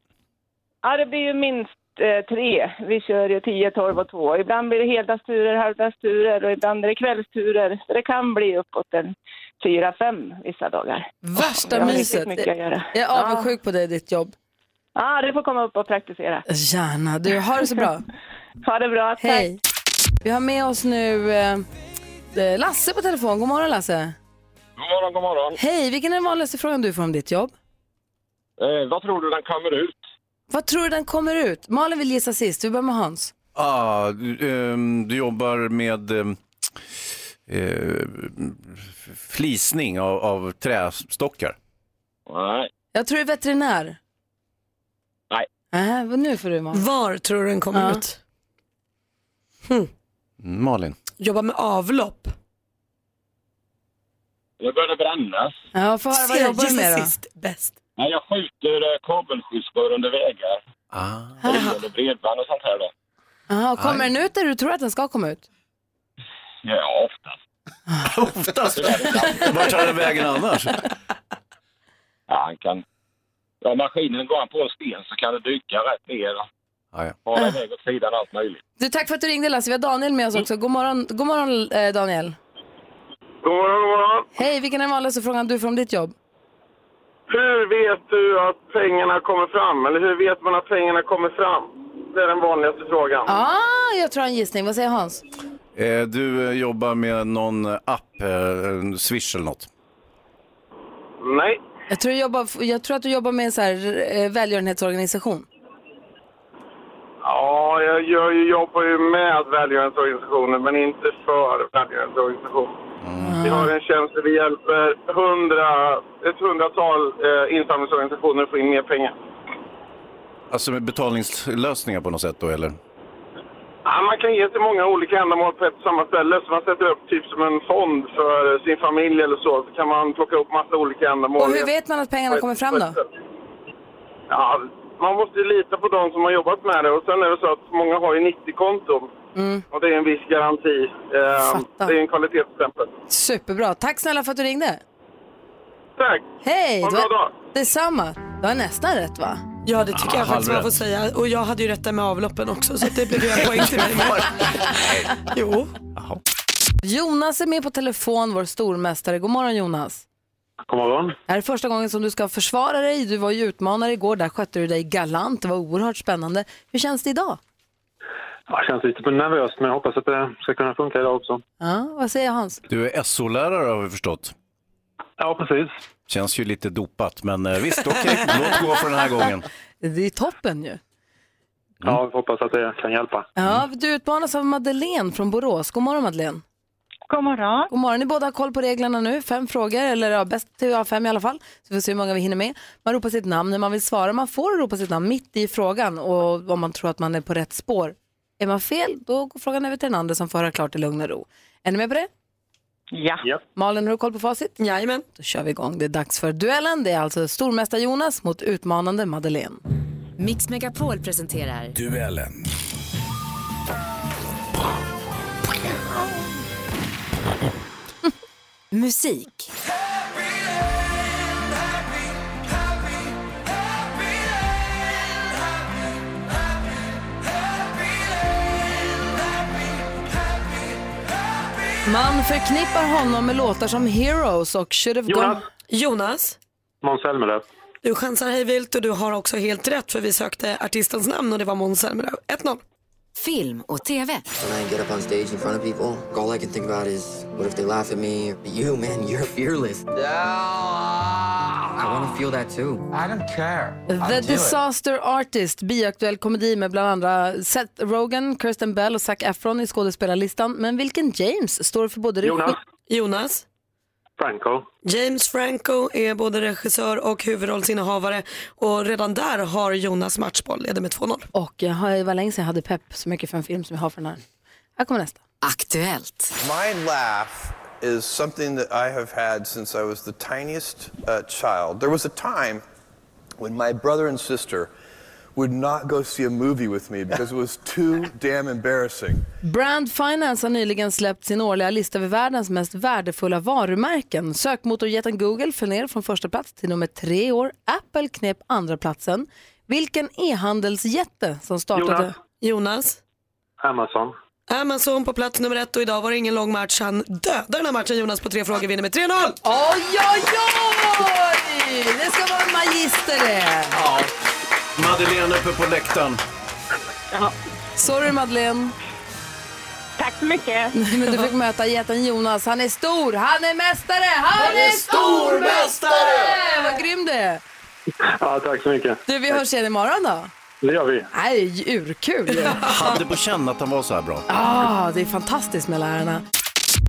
Speaker 8: Ja, det blir ju minst eh, tre. Vi kör ju 10, 12 och 2. Ibland blir det heldagsturer, halvdagsturer och ibland är det kvällsturer. Så det kan bli uppåt en fyra, fem vissa dagar. Jag
Speaker 1: Värsta
Speaker 8: har riktigt
Speaker 1: myset.
Speaker 8: mycket att göra.
Speaker 1: Jag är avundsjuk på dig ditt jobb.
Speaker 8: Ja, du får komma upp och praktisera.
Speaker 1: Gärna. Du, har det så bra.
Speaker 8: Ha det bra. Tack.
Speaker 1: Hej. Vi har med oss nu eh, eh, Lasse på telefon. God morgon Lasse.
Speaker 10: God morgon, god morgon.
Speaker 1: Hej, vilken är den vanligaste frågan du får om ditt jobb?
Speaker 10: Eh, vad tror du den kommer ut?
Speaker 1: Vad tror du den kommer ut? Malin vill gissa sist, vi börjar med Hans.
Speaker 3: Ah, du, ehm, du jobbar med ehm, eh, flisning av, av trästockar.
Speaker 10: Nej,
Speaker 1: Jag tror du är veterinär.
Speaker 10: Nej.
Speaker 1: Äh, vad nu får du Malin?
Speaker 2: Var tror du den kommer
Speaker 1: Ja.
Speaker 2: ut?
Speaker 3: Mm, Malin.
Speaker 2: Jobba med avlopp.
Speaker 10: det började brännas.
Speaker 1: Ja, får höra vad
Speaker 2: jag
Speaker 1: jobbar du med då?
Speaker 2: sist bäst?
Speaker 10: Nej, jag skjuter eh, kabelskyddsrör under vägar,
Speaker 3: Ah.
Speaker 10: under bredband och sånt här då.
Speaker 1: Aha, kommer den ut där du tror att den ska komma ut?
Speaker 10: Ja, oftast.
Speaker 3: Oftast. Vart tar den vägen annars?
Speaker 10: Ja, han kan... Ja, maskinen går han på en sten så kan det dyka rätt ner och
Speaker 3: Ah, ja.
Speaker 10: fara iväg åt sidan allt möjligt.
Speaker 1: Du, tack för att du ringde Lasse. Vi har Daniel med oss
Speaker 2: Mm.
Speaker 1: också. God morgon, god morgon eh, Daniel.
Speaker 10: God morgon, god morgon.
Speaker 1: Hej, vilken är den vanligaste frågan du får om ditt jobb?
Speaker 10: Hur vet du att pengarna kommer fram? Eller hur vet man att pengarna kommer fram? Det är den vanligaste frågan.
Speaker 1: Ah, jag tror en gissning. Vad säger Hans?
Speaker 3: Eh, du eh, jobbar med någon app, eh, en Swish eller något.
Speaker 10: Nej.
Speaker 1: Jag tror, du jobbar, jag tror att du jobbar med en så här, eh, välgörenhetsorganisation.
Speaker 10: Ja, jag gör ju, jobbar ju med välgörenhetsorganisationer, men inte för välgörenhetsorganisationer. Vi har en tjänst där vi hjälper hundra, ett hundratal eh, insamlingsorganisationer att få in mer pengar.
Speaker 3: Alltså med betalningslösningar på något sätt då eller?
Speaker 10: Ja, man kan ge till många olika ändamål på ett och samma ställe. Så man sätter upp typ som en fond för sin familj eller så. Så kan man plocka upp massa olika ändamål.
Speaker 1: Och hur vet man att pengarna kommer fram då?
Speaker 10: Ja, man måste ju lita på de som har jobbat med det. Och sen är det så att många har ju 90-konton.
Speaker 1: Mm.
Speaker 10: Och det är en viss garanti. Eh, det är en kvalitetsstämpel.
Speaker 1: Superbra. Tack snälla för att du ringde.
Speaker 10: Tack.
Speaker 1: Hej!
Speaker 10: Ha en
Speaker 1: det var-
Speaker 10: bra dag.
Speaker 1: Detsamma. Du har nästan rätt va?
Speaker 2: Ja det tycker
Speaker 1: Ah,
Speaker 2: jag faktiskt man
Speaker 1: halvrätt.
Speaker 2: får säga. Och jag hade ju rätt där med avloppen också så det blev ju en poäng till mig. jo.
Speaker 1: Jonas är med på telefon, vår stormästare. God morgon Jonas.
Speaker 11: God morgon.
Speaker 1: Det här är första gången som du ska försvara dig. Du var ju utmanare igår, där skötte du dig galant. Det var oerhört spännande. Hur känns det idag?
Speaker 11: Jag känns lite nervös, men jag hoppas att det ska kunna funka idag också.
Speaker 1: Ja, vad säger Hans?
Speaker 3: Du är SO-lärare har vi förstått.
Speaker 11: Ja, precis.
Speaker 3: Känns ju lite dopat, men eh, visst, okej, låt gå för den här gången.
Speaker 1: Det är toppen ju.
Speaker 11: Ja, vi hoppas att det kan hjälpa.
Speaker 1: Ja, du utmanas av Madeleine från Borås. God morgon Madeleine.
Speaker 12: God morgon.
Speaker 1: God morgon. Ni båda har koll på reglerna nu. Fem frågor, eller ja, bäst till av fem i alla fall. Så vi får se hur många vi hinner med. Man ropar sitt namn när man vill svara. Man får ropa sitt namn mitt i frågan och om man tror att man är på rätt spår. Är man fel, då går frågan över till den andra som får höra klart i lugn och ro. Är ni med på det?
Speaker 12: Ja.
Speaker 1: Malin, har du koll på facit? Jajamän. Då kör vi igång. Det är dags för duellen. Det är alltså stormästare Jonas mot utmanande Madeleine.
Speaker 13: Mix Megapol presenterar
Speaker 14: Duellen.
Speaker 13: musik.
Speaker 1: Man förknippar honom med låtar som Heroes och Should have gone...
Speaker 11: Jonas.
Speaker 2: Jonas,
Speaker 11: Måns Zelmerlöw.
Speaker 2: du chansar hejvilt och du har också helt rätt för vi sökte artistens namn och det var Måns Zelmerlöw. 1-0.
Speaker 13: Film och TV.
Speaker 15: When I get up on stage in front of people, all I can think about is what if they laugh at me? But you, man, you're fearless. I want to feel that too. I don't care.
Speaker 1: The Disaster Artist, biaktuell komedi med bland andra Seth Rogen, Kirsten Bell och Zac Efron i skådespelarlistan. Men vilken James står för både... regi-
Speaker 11: Jonas.
Speaker 2: Jonas.
Speaker 11: Franco.
Speaker 2: James Franco är både regissör och huvudrollsinnehavare och redan där har Jonas matchboll, leder med 2-0.
Speaker 1: Och jag har, det var länge sedan jag hade pepp så mycket för en film som jag har för den här. Här kommer nästa.
Speaker 13: Aktuellt.
Speaker 16: My laugh is something that I have had since I was the tiniest uh, child. There was a time when my brother and sister would not go see a movie with me because it was too damn embarrassing.
Speaker 1: Brand Finance har nyligen släppt sin årliga lista över världens mest värdefulla varumärken. Sökmotorjätten Google föll ner från första plats till nummer tre i år. Apple knep andra platsen. Vilken e-handelsjätte som startade...
Speaker 11: Jonas.
Speaker 2: Jonas.
Speaker 11: Amazon.
Speaker 2: Amazon på plats nummer ett och idag var det ingen lång match. Han dödar den här matchen Jonas på tre frågor, vinner med 3-0.
Speaker 1: Oj, oj, oj! Det ska vara en magister det.
Speaker 3: Ja. Madeleine uppe på läktaren.
Speaker 1: Sorry Madeleine. Tack så mycket. Men du fick möta jätten Jonas. Han är stor, han är mästare, han,
Speaker 6: Han är stormästare!
Speaker 1: Vad grym du är.
Speaker 11: Ja, tack så mycket.
Speaker 1: Du, vi hörs igen imorgon då.
Speaker 11: Det gör vi.
Speaker 1: Nej, det är ju urkul ju.
Speaker 3: Hade på känn att han var så här bra.
Speaker 1: Ah, det är fantastiskt med lärarna.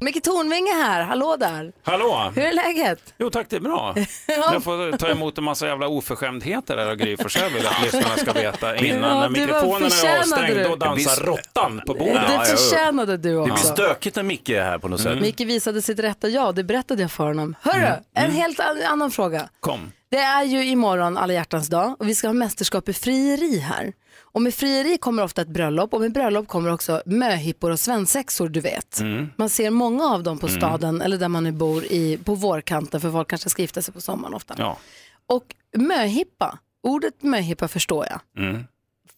Speaker 1: Micke Tornvinge här, hallå där.
Speaker 17: Hallå!
Speaker 1: Hur är läget?
Speaker 17: Jo tack, det är bra. Jag får ta emot en massa jävla oförskämdheter där av Gry Forssell vill att lyssnarna ska veta innan
Speaker 1: Ja,
Speaker 17: när
Speaker 1: det var-
Speaker 17: mikrofonen är
Speaker 1: förtjänade
Speaker 17: avstängd
Speaker 1: du.
Speaker 17: och dansar råttan på bordet.
Speaker 1: Det förtjänade du
Speaker 3: Det blir
Speaker 1: också. Mm.
Speaker 3: stökigt när Micke är här på något sätt.
Speaker 1: Micke visade sitt rätta ja, det berättade jag för honom. Hörru,
Speaker 17: Mm.
Speaker 1: en helt an- annan fråga.
Speaker 17: Kom.
Speaker 1: Det är ju imorgon alla hjärtans dag och vi ska ha mästerskap i frieri här. Och med frieri kommer ofta ett bröllop och med bröllop kommer också möhippor och svensexor du vet.
Speaker 17: Mm.
Speaker 1: Man ser många av dem på
Speaker 6: Mm.
Speaker 1: staden eller där man nu bor i, på vårkanten för folk kanske ska gifta sig på sommaren ofta.
Speaker 17: Ja.
Speaker 1: Och möhippa, ordet möhippa förstår jag.
Speaker 17: Mm.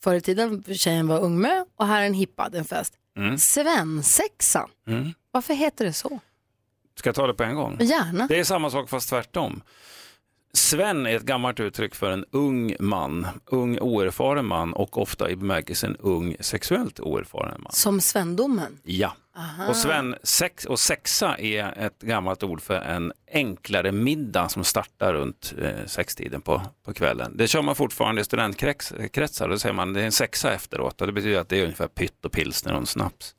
Speaker 1: Förr i tiden tjejen var ung mö och här är en hippa, det är en fest.
Speaker 17: Mm.
Speaker 1: Svensexa,
Speaker 17: Mm.
Speaker 1: varför heter det så?
Speaker 17: Ska jag ta det på en gång?
Speaker 1: Gärna.
Speaker 17: Det är samma sak fast tvärtom. Sven är ett gammalt uttryck för en ung man, ung oerfaren man och ofta i bemärkelsen ung sexuellt oerfaren man.
Speaker 1: Som svendomen.
Speaker 17: Ja.
Speaker 1: Aha.
Speaker 17: Och Sven, sex, och sexa är ett gammalt ord för en enklare middag som startar runt eh, sextiden på, på kvällen. Det kör man fortfarande i studentkretsar, då säger man det är en sexa efteråt och det betyder att det är ungefär pytt och pilsner och en snaps.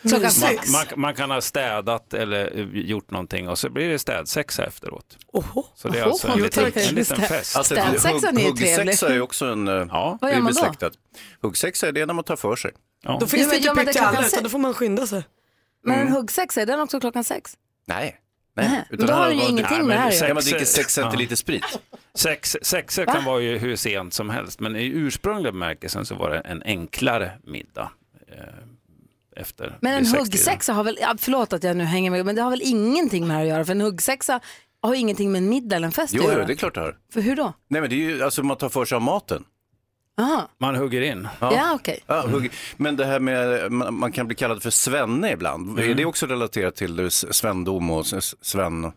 Speaker 1: Klockan
Speaker 17: Man,
Speaker 1: sex.
Speaker 17: man, man kan ha städat eller eh, gjort någonting och så blir det städsexa efteråt.
Speaker 1: Oho.
Speaker 17: Så det är alltså en
Speaker 1: Oho.
Speaker 17: liten, en liten
Speaker 1: Städ-
Speaker 17: fest.
Speaker 1: Alltså, Städsexan är ju trevlig.
Speaker 3: Huggsexa är också en... eh,
Speaker 17: Ja.
Speaker 1: Vad gör
Speaker 3: det är
Speaker 1: man då?
Speaker 3: besläktat. Huggsexa är det när man tar för sig.
Speaker 2: Då finns
Speaker 1: Ja,
Speaker 2: det
Speaker 1: men-
Speaker 2: inte
Speaker 1: ja, men det är klockan
Speaker 2: pyttialla
Speaker 1: sex.
Speaker 2: utan då får man skynda sig.
Speaker 1: Men
Speaker 3: Mm.
Speaker 1: en huggsexa, är den också klockan sex?
Speaker 3: Nej. Nej.
Speaker 1: men då har du ju
Speaker 3: bara-
Speaker 1: ingenting med det här att göra.
Speaker 3: Ja, man dricker sex centiliter sprit.
Speaker 17: Sex, sexa
Speaker 1: Va?
Speaker 17: kan vara ju hur sent som helst, men i ursprungliga bemärkelsen så var det en enklare middag. Eh, efter
Speaker 1: Men en
Speaker 17: vid sextiden.
Speaker 1: huggsexa har väl, ja, förlåt att jag nu hänger med, men det har väl ingenting med det här att göra? För en huggsexa har ingenting med en middag eller en fest
Speaker 3: Jo,
Speaker 1: att
Speaker 3: jo,
Speaker 1: göra.
Speaker 3: det är klart det har.
Speaker 1: För hur då?
Speaker 3: Nej, men det är ju, alltså man tar för sig av maten.
Speaker 1: Aha.
Speaker 17: Man hugger in.
Speaker 1: Ja, okej.
Speaker 3: Ja, hugg- Men det här med, man, man kan bli kallad för svenne ibland.
Speaker 17: Mm.
Speaker 3: Är det också relaterat till eh, s- svendom och s- s- sven?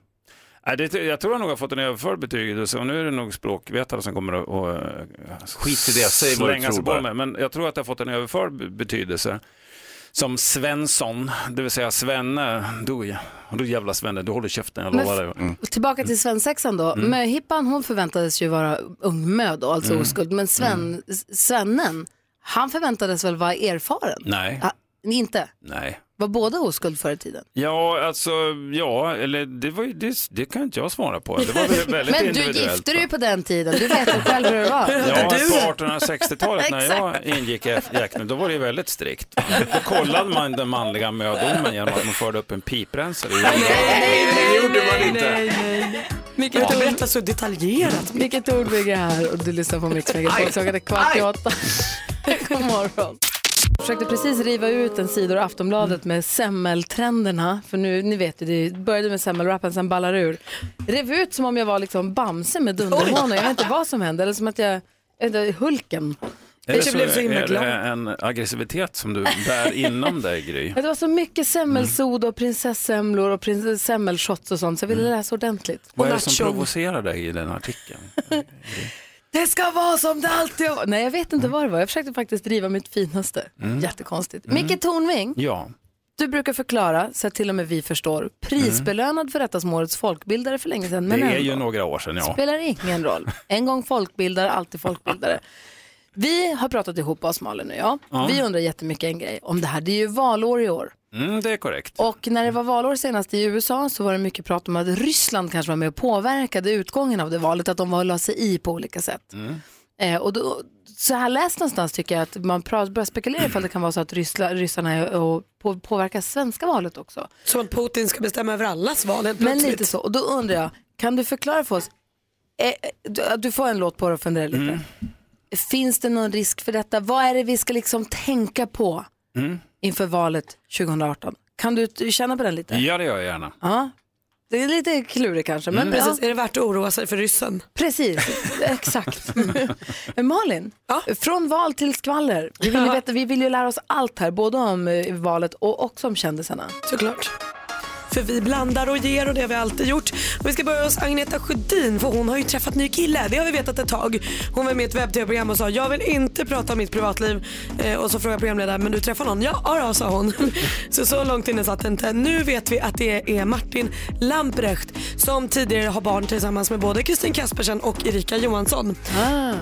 Speaker 17: Nej, det, jag tror jag nog har fått en överförd betydelse och nu är det nog språkvetare som kommer att och, eh,
Speaker 3: Skit i det, säg vad du
Speaker 17: slänga sig
Speaker 3: tror
Speaker 17: på
Speaker 3: bara.
Speaker 17: mig. Men jag tror att det har fått en överförd be- betydelse. Som Svensson, det vill säga Svenne, du, du jävla Svenne, du håller käften, jag
Speaker 1: Men
Speaker 17: lovar dig.
Speaker 1: f- Och Tillbaka till svensexan då.
Speaker 17: Mm.
Speaker 1: Möhippan hon förväntades ju vara ungmö då, alltså
Speaker 17: Mm.
Speaker 1: oskuld. Men Sven, svennen, han förväntades väl vara erfaren?
Speaker 17: Nej,
Speaker 1: Ah, inte?
Speaker 17: nej.
Speaker 1: Var båda oskuld förr i tiden?
Speaker 17: Ja, alltså, ja, eller det, var, ju- det, det kan inte jag svara på. Det var väl väldigt
Speaker 1: Men du
Speaker 17: individuellt.
Speaker 1: gifte dig ju på den tiden, du vet ju själv hur det var.
Speaker 17: Ja, på 1860-talet när
Speaker 1: Exakt.
Speaker 17: jag ingick i Jäknen, då var det ju väldigt strikt. Då kollade man den manliga mödomen genom att man förde upp en piprensare.
Speaker 1: det
Speaker 6: gjorde man inte.
Speaker 1: Vilket
Speaker 2: Jag har inte
Speaker 1: ord,
Speaker 2: berättat så detaljerat.
Speaker 1: vilket ordbygge här och du lyssnar på Mix Megapol.
Speaker 2: Aj.
Speaker 1: Klockan är kvart i
Speaker 2: Aj.
Speaker 1: åtta. God morgon. Jag försökte precis riva ut en sida ur Aftonbladet
Speaker 17: Mm.
Speaker 1: med semmeltrenderna. För nu, ni vet ju, det började med semmelrappen, sen ballar det ur. Rev ut som om jag var liksom Bamse med dunderhonor. Jag vet inte vad som hände. Eller som att jag, jag vet inte, Hulken.
Speaker 17: Eller så är det en aggressivitet som du bär inom dig, Gry.
Speaker 1: Ja, Det var så mycket semmelsod och prinsessemlor och prins- semmelshots och sånt så jag ville läsa ordentligt.
Speaker 17: Mm. Vad är det som provocerar dig i den artikeln?
Speaker 1: Det ska vara som det alltid har varit. Nej, jag vet inte vad det var. Jag försökte faktiskt driva mitt finaste.
Speaker 17: Mm.
Speaker 1: Jättekonstigt.
Speaker 17: Mm.
Speaker 1: Micke Tornving,
Speaker 17: Ja.
Speaker 1: du brukar förklara så att till och med vi förstår. Prisbelönad för detta som årets folkbildare för länge sedan. Men
Speaker 17: det är
Speaker 1: ändå.
Speaker 17: ju några år sedan, ja.
Speaker 1: Spelar ingen roll. En gång folkbildare, alltid folkbildare. Vi har pratat ihop oss, Malin och jag.
Speaker 17: Ja.
Speaker 1: Vi undrar jättemycket en grej om det här. Det är ju valår i år.
Speaker 17: Mm, det är korrekt.
Speaker 1: Och när det var valår senast i USA så var det mycket prat om att Ryssland kanske var med och påverkade utgången av det valet, att de var och la sig i på olika sätt.
Speaker 3: Mm.
Speaker 1: Eh, och då, så här läst någonstans tycker jag att man pra- börjar spekulera ifall det kan vara så att ryssla, ryssarna är och på, påverkar svenska valet också.
Speaker 2: Som att Putin ska bestämma över allas val helt
Speaker 1: Men
Speaker 2: plötsligt.
Speaker 1: lite så, och då undrar jag, kan du förklara för oss, eh, eh, du, du får en låt på dig att fundera lite. Finns det någon risk för detta? Vad är det vi ska liksom tänka på
Speaker 17: Mm.
Speaker 1: inför valet 2018? Kan du t- känna på den lite?
Speaker 17: Ja, det gör jag gärna.
Speaker 1: Ja, det är lite klurigt kanske. Men
Speaker 2: Mm. Precis,
Speaker 1: ja.
Speaker 2: är det värt att oroa sig för ryssen? Mm.
Speaker 1: Precis, exakt. Men Malin, från val till skvaller. Vi vill, ju veta, vi vill ju lära oss allt här, både om eh, valet och också om kändisarna.
Speaker 2: Såklart. För vi blandar och ger och det har vi alltid gjort. Och vi ska börja hos Agneta Sjödin för hon har ju träffat ny kille. Det har vi vetat ett tag. Hon var med i ett webb-tv-program och sa jag vill inte prata om mitt privatliv. Eh, och så frågade programledaren men du träffar någon? Ja, ja då, sa hon. så så långt inne satt det inte. Nu vet vi att det är Martin Lamprecht som tidigare har barn tillsammans med både Kristin Kaspersen och Erika Johansson.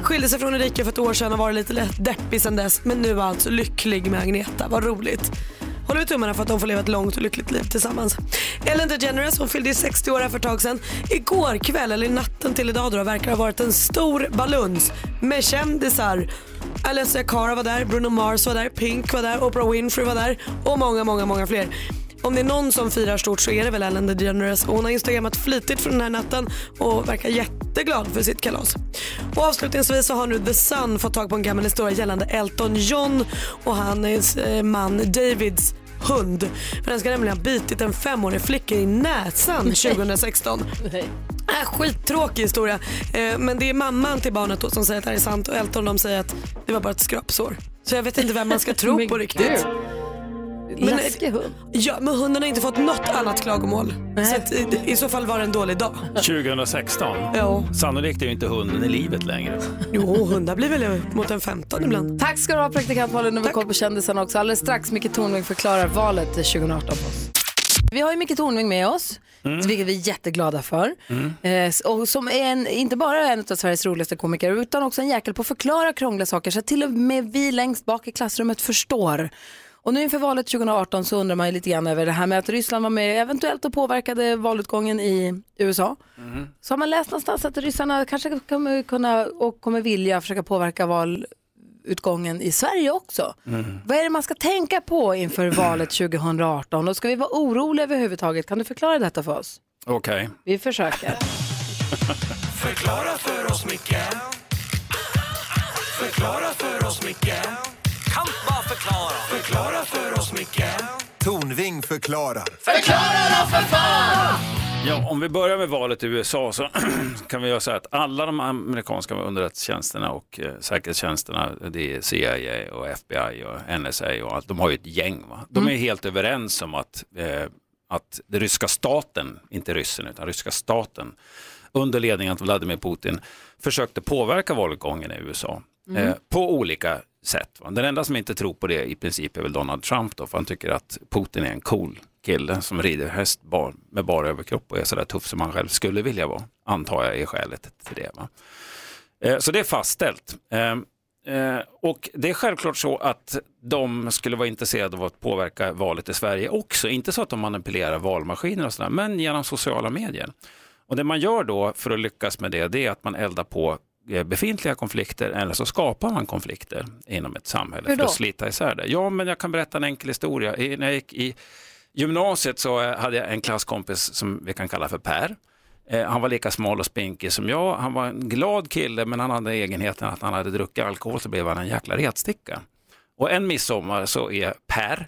Speaker 2: Skilde sig från Erika för ett år sedan och varit lite lätt deppig sedan dess men nu är alltså lycklig med Agneta. Vad roligt. Håller vi tummarna för att de får leva ett långt och lyckligt liv tillsammans. Ellen DeGeneres hon fyllde ju 60 år här för ett tag sedan. Igår kväll, eller natten till idag då, verkar ha varit en stor baluns med kändisar. Alessia Cara var där, Bruno Mars var där, Pink var där, Oprah Winfrey var där och många, många, många fler. Om det är någon som firar stort så är det väl Ellen DeGeneres. Hon har instagrammat flitigt för den här natten och verkar jätteglad för sitt kalas. Och avslutningsvis så har nu The Sun fått tag på en gammal historia gällande Elton John och hans eh, man Davids hund. För den ska nämligen ha bitit en femårig flicka i näsan 2016. Äh, skittråkig historia. Eh, men det är mamman till barnet då som säger att det här är sant och Elton de säger att det var bara ett skrapsår. Så jag vet inte vem man ska tro
Speaker 1: Men
Speaker 2: på riktigt. Men- eh,
Speaker 1: Läskig hund.
Speaker 2: Ja, men hunden har inte fått något annat klagomål. Så att, i, I så fall var det en dålig dag.
Speaker 17: 2016.
Speaker 2: Jo.
Speaker 17: Sannolikt är ju inte hunden i livet längre.
Speaker 2: Jo, hundar blir väl mot en 15 ibland.
Speaker 1: Tack ska du ha praktikant Malin, nu har vi koll på kändisarna också. Alldeles strax Micke Tornving förklarar valet 2018 för oss. Vi har ju Micke Tornving med oss, vilket vi är jätteglada för. Eh, och som är en, inte bara en av Sveriges roligaste komiker utan också en jäkel på att förklara krångliga saker så att till och med vi längst bak i klassrummet förstår. Och nu inför valet 2018 så undrar man ju lite grann över det här med att Ryssland var med eventuellt och påverkade valutgången i USA. Så har man läst någonstans att ryssarna kanske kommer kunna och kommer vilja försöka påverka val utgången i Sverige också.
Speaker 6: Mm.
Speaker 1: Vad är det man ska tänka på inför valet 2018? Och ska vi vara oroliga överhuvudtaget? Kan du förklara detta för oss?
Speaker 17: Okej.
Speaker 1: Vi försöker.
Speaker 6: Förklara för oss, Micke Förklara för oss, Micke Kan bara förklara Förklara för oss, Micke
Speaker 5: Tornving förklarar.
Speaker 6: Förklara då för fan!
Speaker 17: Ja, om vi börjar med valet i USA så kan vi göra så här att alla de amerikanska underrättelsetjänsterna och eh, säkerhetstjänsterna, det är CIA och FBI och NSA och allt, de har ju ett gäng. Va? De är
Speaker 2: Mm.
Speaker 17: helt överens om att, eh, att den ryska staten, inte ryssen utan ryska staten, under ledning av Vladimir Putin försökte påverka valutgången i USA
Speaker 6: Mm.
Speaker 17: eh, på olika sätt. Va? Den enda som inte tror på det i princip är väl Donald Trump då, för han tycker att Putin är en cool kille som rider häst bar, med bara överkropp och är sådär tuff som han själv skulle vilja vara, antar jag är skälet till det. Va? Eh, Så det är fastställt. Eh, eh, Och det är självklart så att de skulle vara intresserade av att påverka valet i Sverige också. Inte så att de manipulerar valmaskiner och sådär, men genom sociala medier. Och det man gör då för att lyckas med det, det är att man eldar på eh, befintliga konflikter eller så skapar man konflikter inom ett samhälle
Speaker 6: Hur
Speaker 17: för
Speaker 6: då?
Speaker 17: att slita isär det. Ja, men jag kan berätta en enkel historia. I, när jag gick i gymnasiet så eh, hade jag en klasskompis som vi kan kalla för Per. Eh, Han var lika smal och spinkig som jag. Han var en glad kille, men han hade egenheten att han hade druckit alkohol så blev han en jäkla retsticka. Och en midsommar så är Per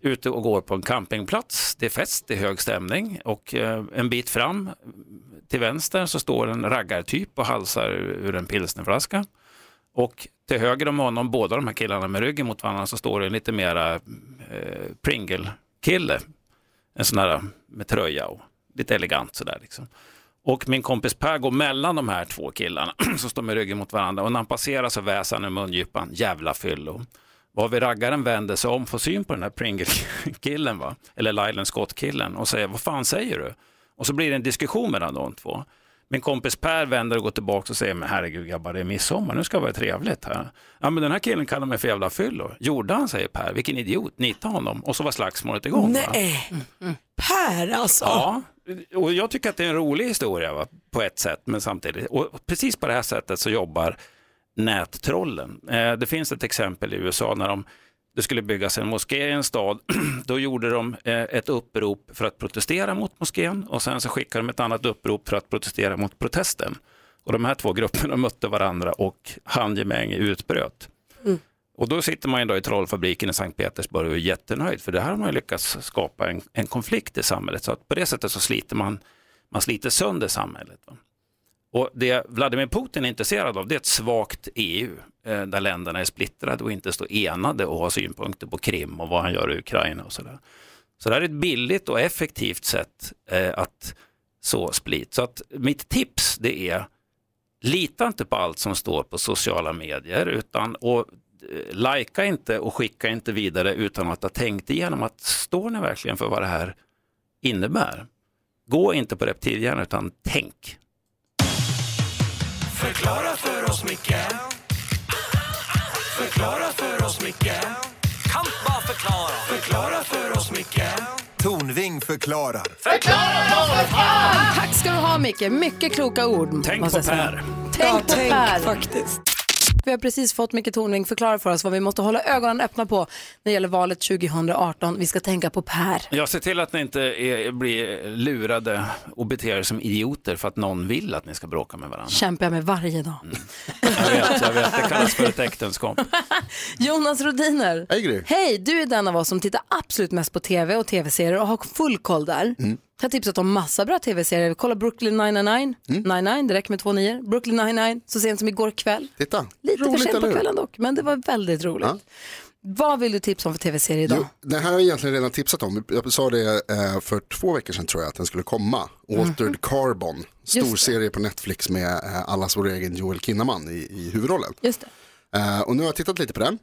Speaker 17: ute och går på en campingplats. Det är fest, det är hög stämning och eh, en bit fram till vänster så står en raggartyp och halsar ur en pilsnerflaska. Och till höger om honom, båda de här killarna med ryggen mot varandra, så står det en lite mera eh, Pringle-kille. En sån här eh, med tröja och lite elegant sådär liksom. Och min kompis Per går mellan de här två killarna som står med ryggen mot varandra och när han passerar så väser han ur mungipan, jävla fyllo. Vad vi raggaren vänder sig om, får syn på den här Pringle-killen, va? eller Lyland Scott-killen och säger vad fan säger du? Och så blir det en diskussion mellan de två. Min kompis Per vänder och går tillbaka och säger, men herregud grabbar, det är midsommar, nu ska det vara trevligt här. Ja, men den här killen kallar mig för jävla fyllo. Gjorde han, säger Per, vilken idiot, nita honom. Och så var slagsmålet igång. va?
Speaker 2: Nej, Per alltså.
Speaker 17: Ja, och jag tycker att det är en rolig historia va? på ett sätt, men samtidigt. Och precis på det här sättet så jobbar nättrollen. Eh, det finns ett exempel i USA när de det skulle byggas en moské i en stad. Då gjorde de eh, ett upprop för att protestera mot moskén och sen så skickade de ett annat upprop för att protestera mot protesten. Och de här två grupperna mötte varandra och handgemäng utbröt. Och då sitter man ju då i trollfabriken i Sankt Petersburg och är jättenöjd för det här har man ju lyckats skapa en, en konflikt i samhället. Så att på det sättet så sliter man, man sliter sönder samhället. Va? Och det Vladimir Putin är intresserad av det är ett svagt EU eh, där länderna är splittrade och inte står enade och har synpunkter på Krim och vad han gör i Ukraina och sådär. Så det här är ett billigt och effektivt sätt eh, att så split. Så att mitt tips det är lita inte på allt som står på sociala medier utan och eh, likea inte och skicka inte vidare utan att ha tänkt igenom att står ni verkligen för vad det här innebär? Gå inte på reptilhjärnan utan tänk.
Speaker 6: Förklara för oss, Micke Förklara för oss, Micke Kan bara förklara Förklara för oss, Micke
Speaker 5: Tornving förklarar.
Speaker 6: Förklara då för fan!
Speaker 1: Tack ska du ha Micke, mycket kloka ord.
Speaker 5: Tänk
Speaker 1: måste
Speaker 5: på
Speaker 1: jag säga.
Speaker 5: Per.
Speaker 1: Tänk
Speaker 2: Ja,
Speaker 1: på
Speaker 2: tänk
Speaker 1: Per.
Speaker 2: faktiskt.
Speaker 1: Vi har precis fått Micke Tornving förklara för oss vad vi måste hålla ögonen öppna på när det gäller valet 2018. Vi ska tänka på Per.
Speaker 17: Jag ser till att ni inte är, blir lurade och beter er som idioter för att någon vill att ni ska bråka med varandra.
Speaker 1: Kämpar jag med varje dag.
Speaker 5: Mm.
Speaker 17: Jag vet, jag vet det kallas för ett äktenskap.
Speaker 1: Jonas Rodiner.
Speaker 9: Hej Gry.
Speaker 1: Hej, Mm. du är den av oss som tittar absolut mest på tv och tv-serier och har full koll där.
Speaker 9: Mm.
Speaker 1: Jag har tipsat om massa bra tv-serier. Kolla Brooklyn 99,
Speaker 9: Mm.
Speaker 1: 99, det räcker med två nior. Brooklyn 99, så sent som igår kväll.
Speaker 9: Titta.
Speaker 1: Lite
Speaker 9: Roligt,
Speaker 1: för sent på
Speaker 9: eller hur?
Speaker 1: kvällen dock, men det var väldigt roligt. Vad vill du tipsa om för tv-serie idag?
Speaker 9: Jo, den här har jag egentligen redan tipsat om. Jag sa det eh, för två veckor sedan tror jag att den skulle komma. Altered Carbon,
Speaker 1: Mm. Just
Speaker 9: stor
Speaker 1: det.
Speaker 9: serie på Netflix med eh, allas vår egen Joel Kinnaman i, i huvudrollen.
Speaker 1: Just det.
Speaker 9: Eh, och nu har jag tittat lite på den.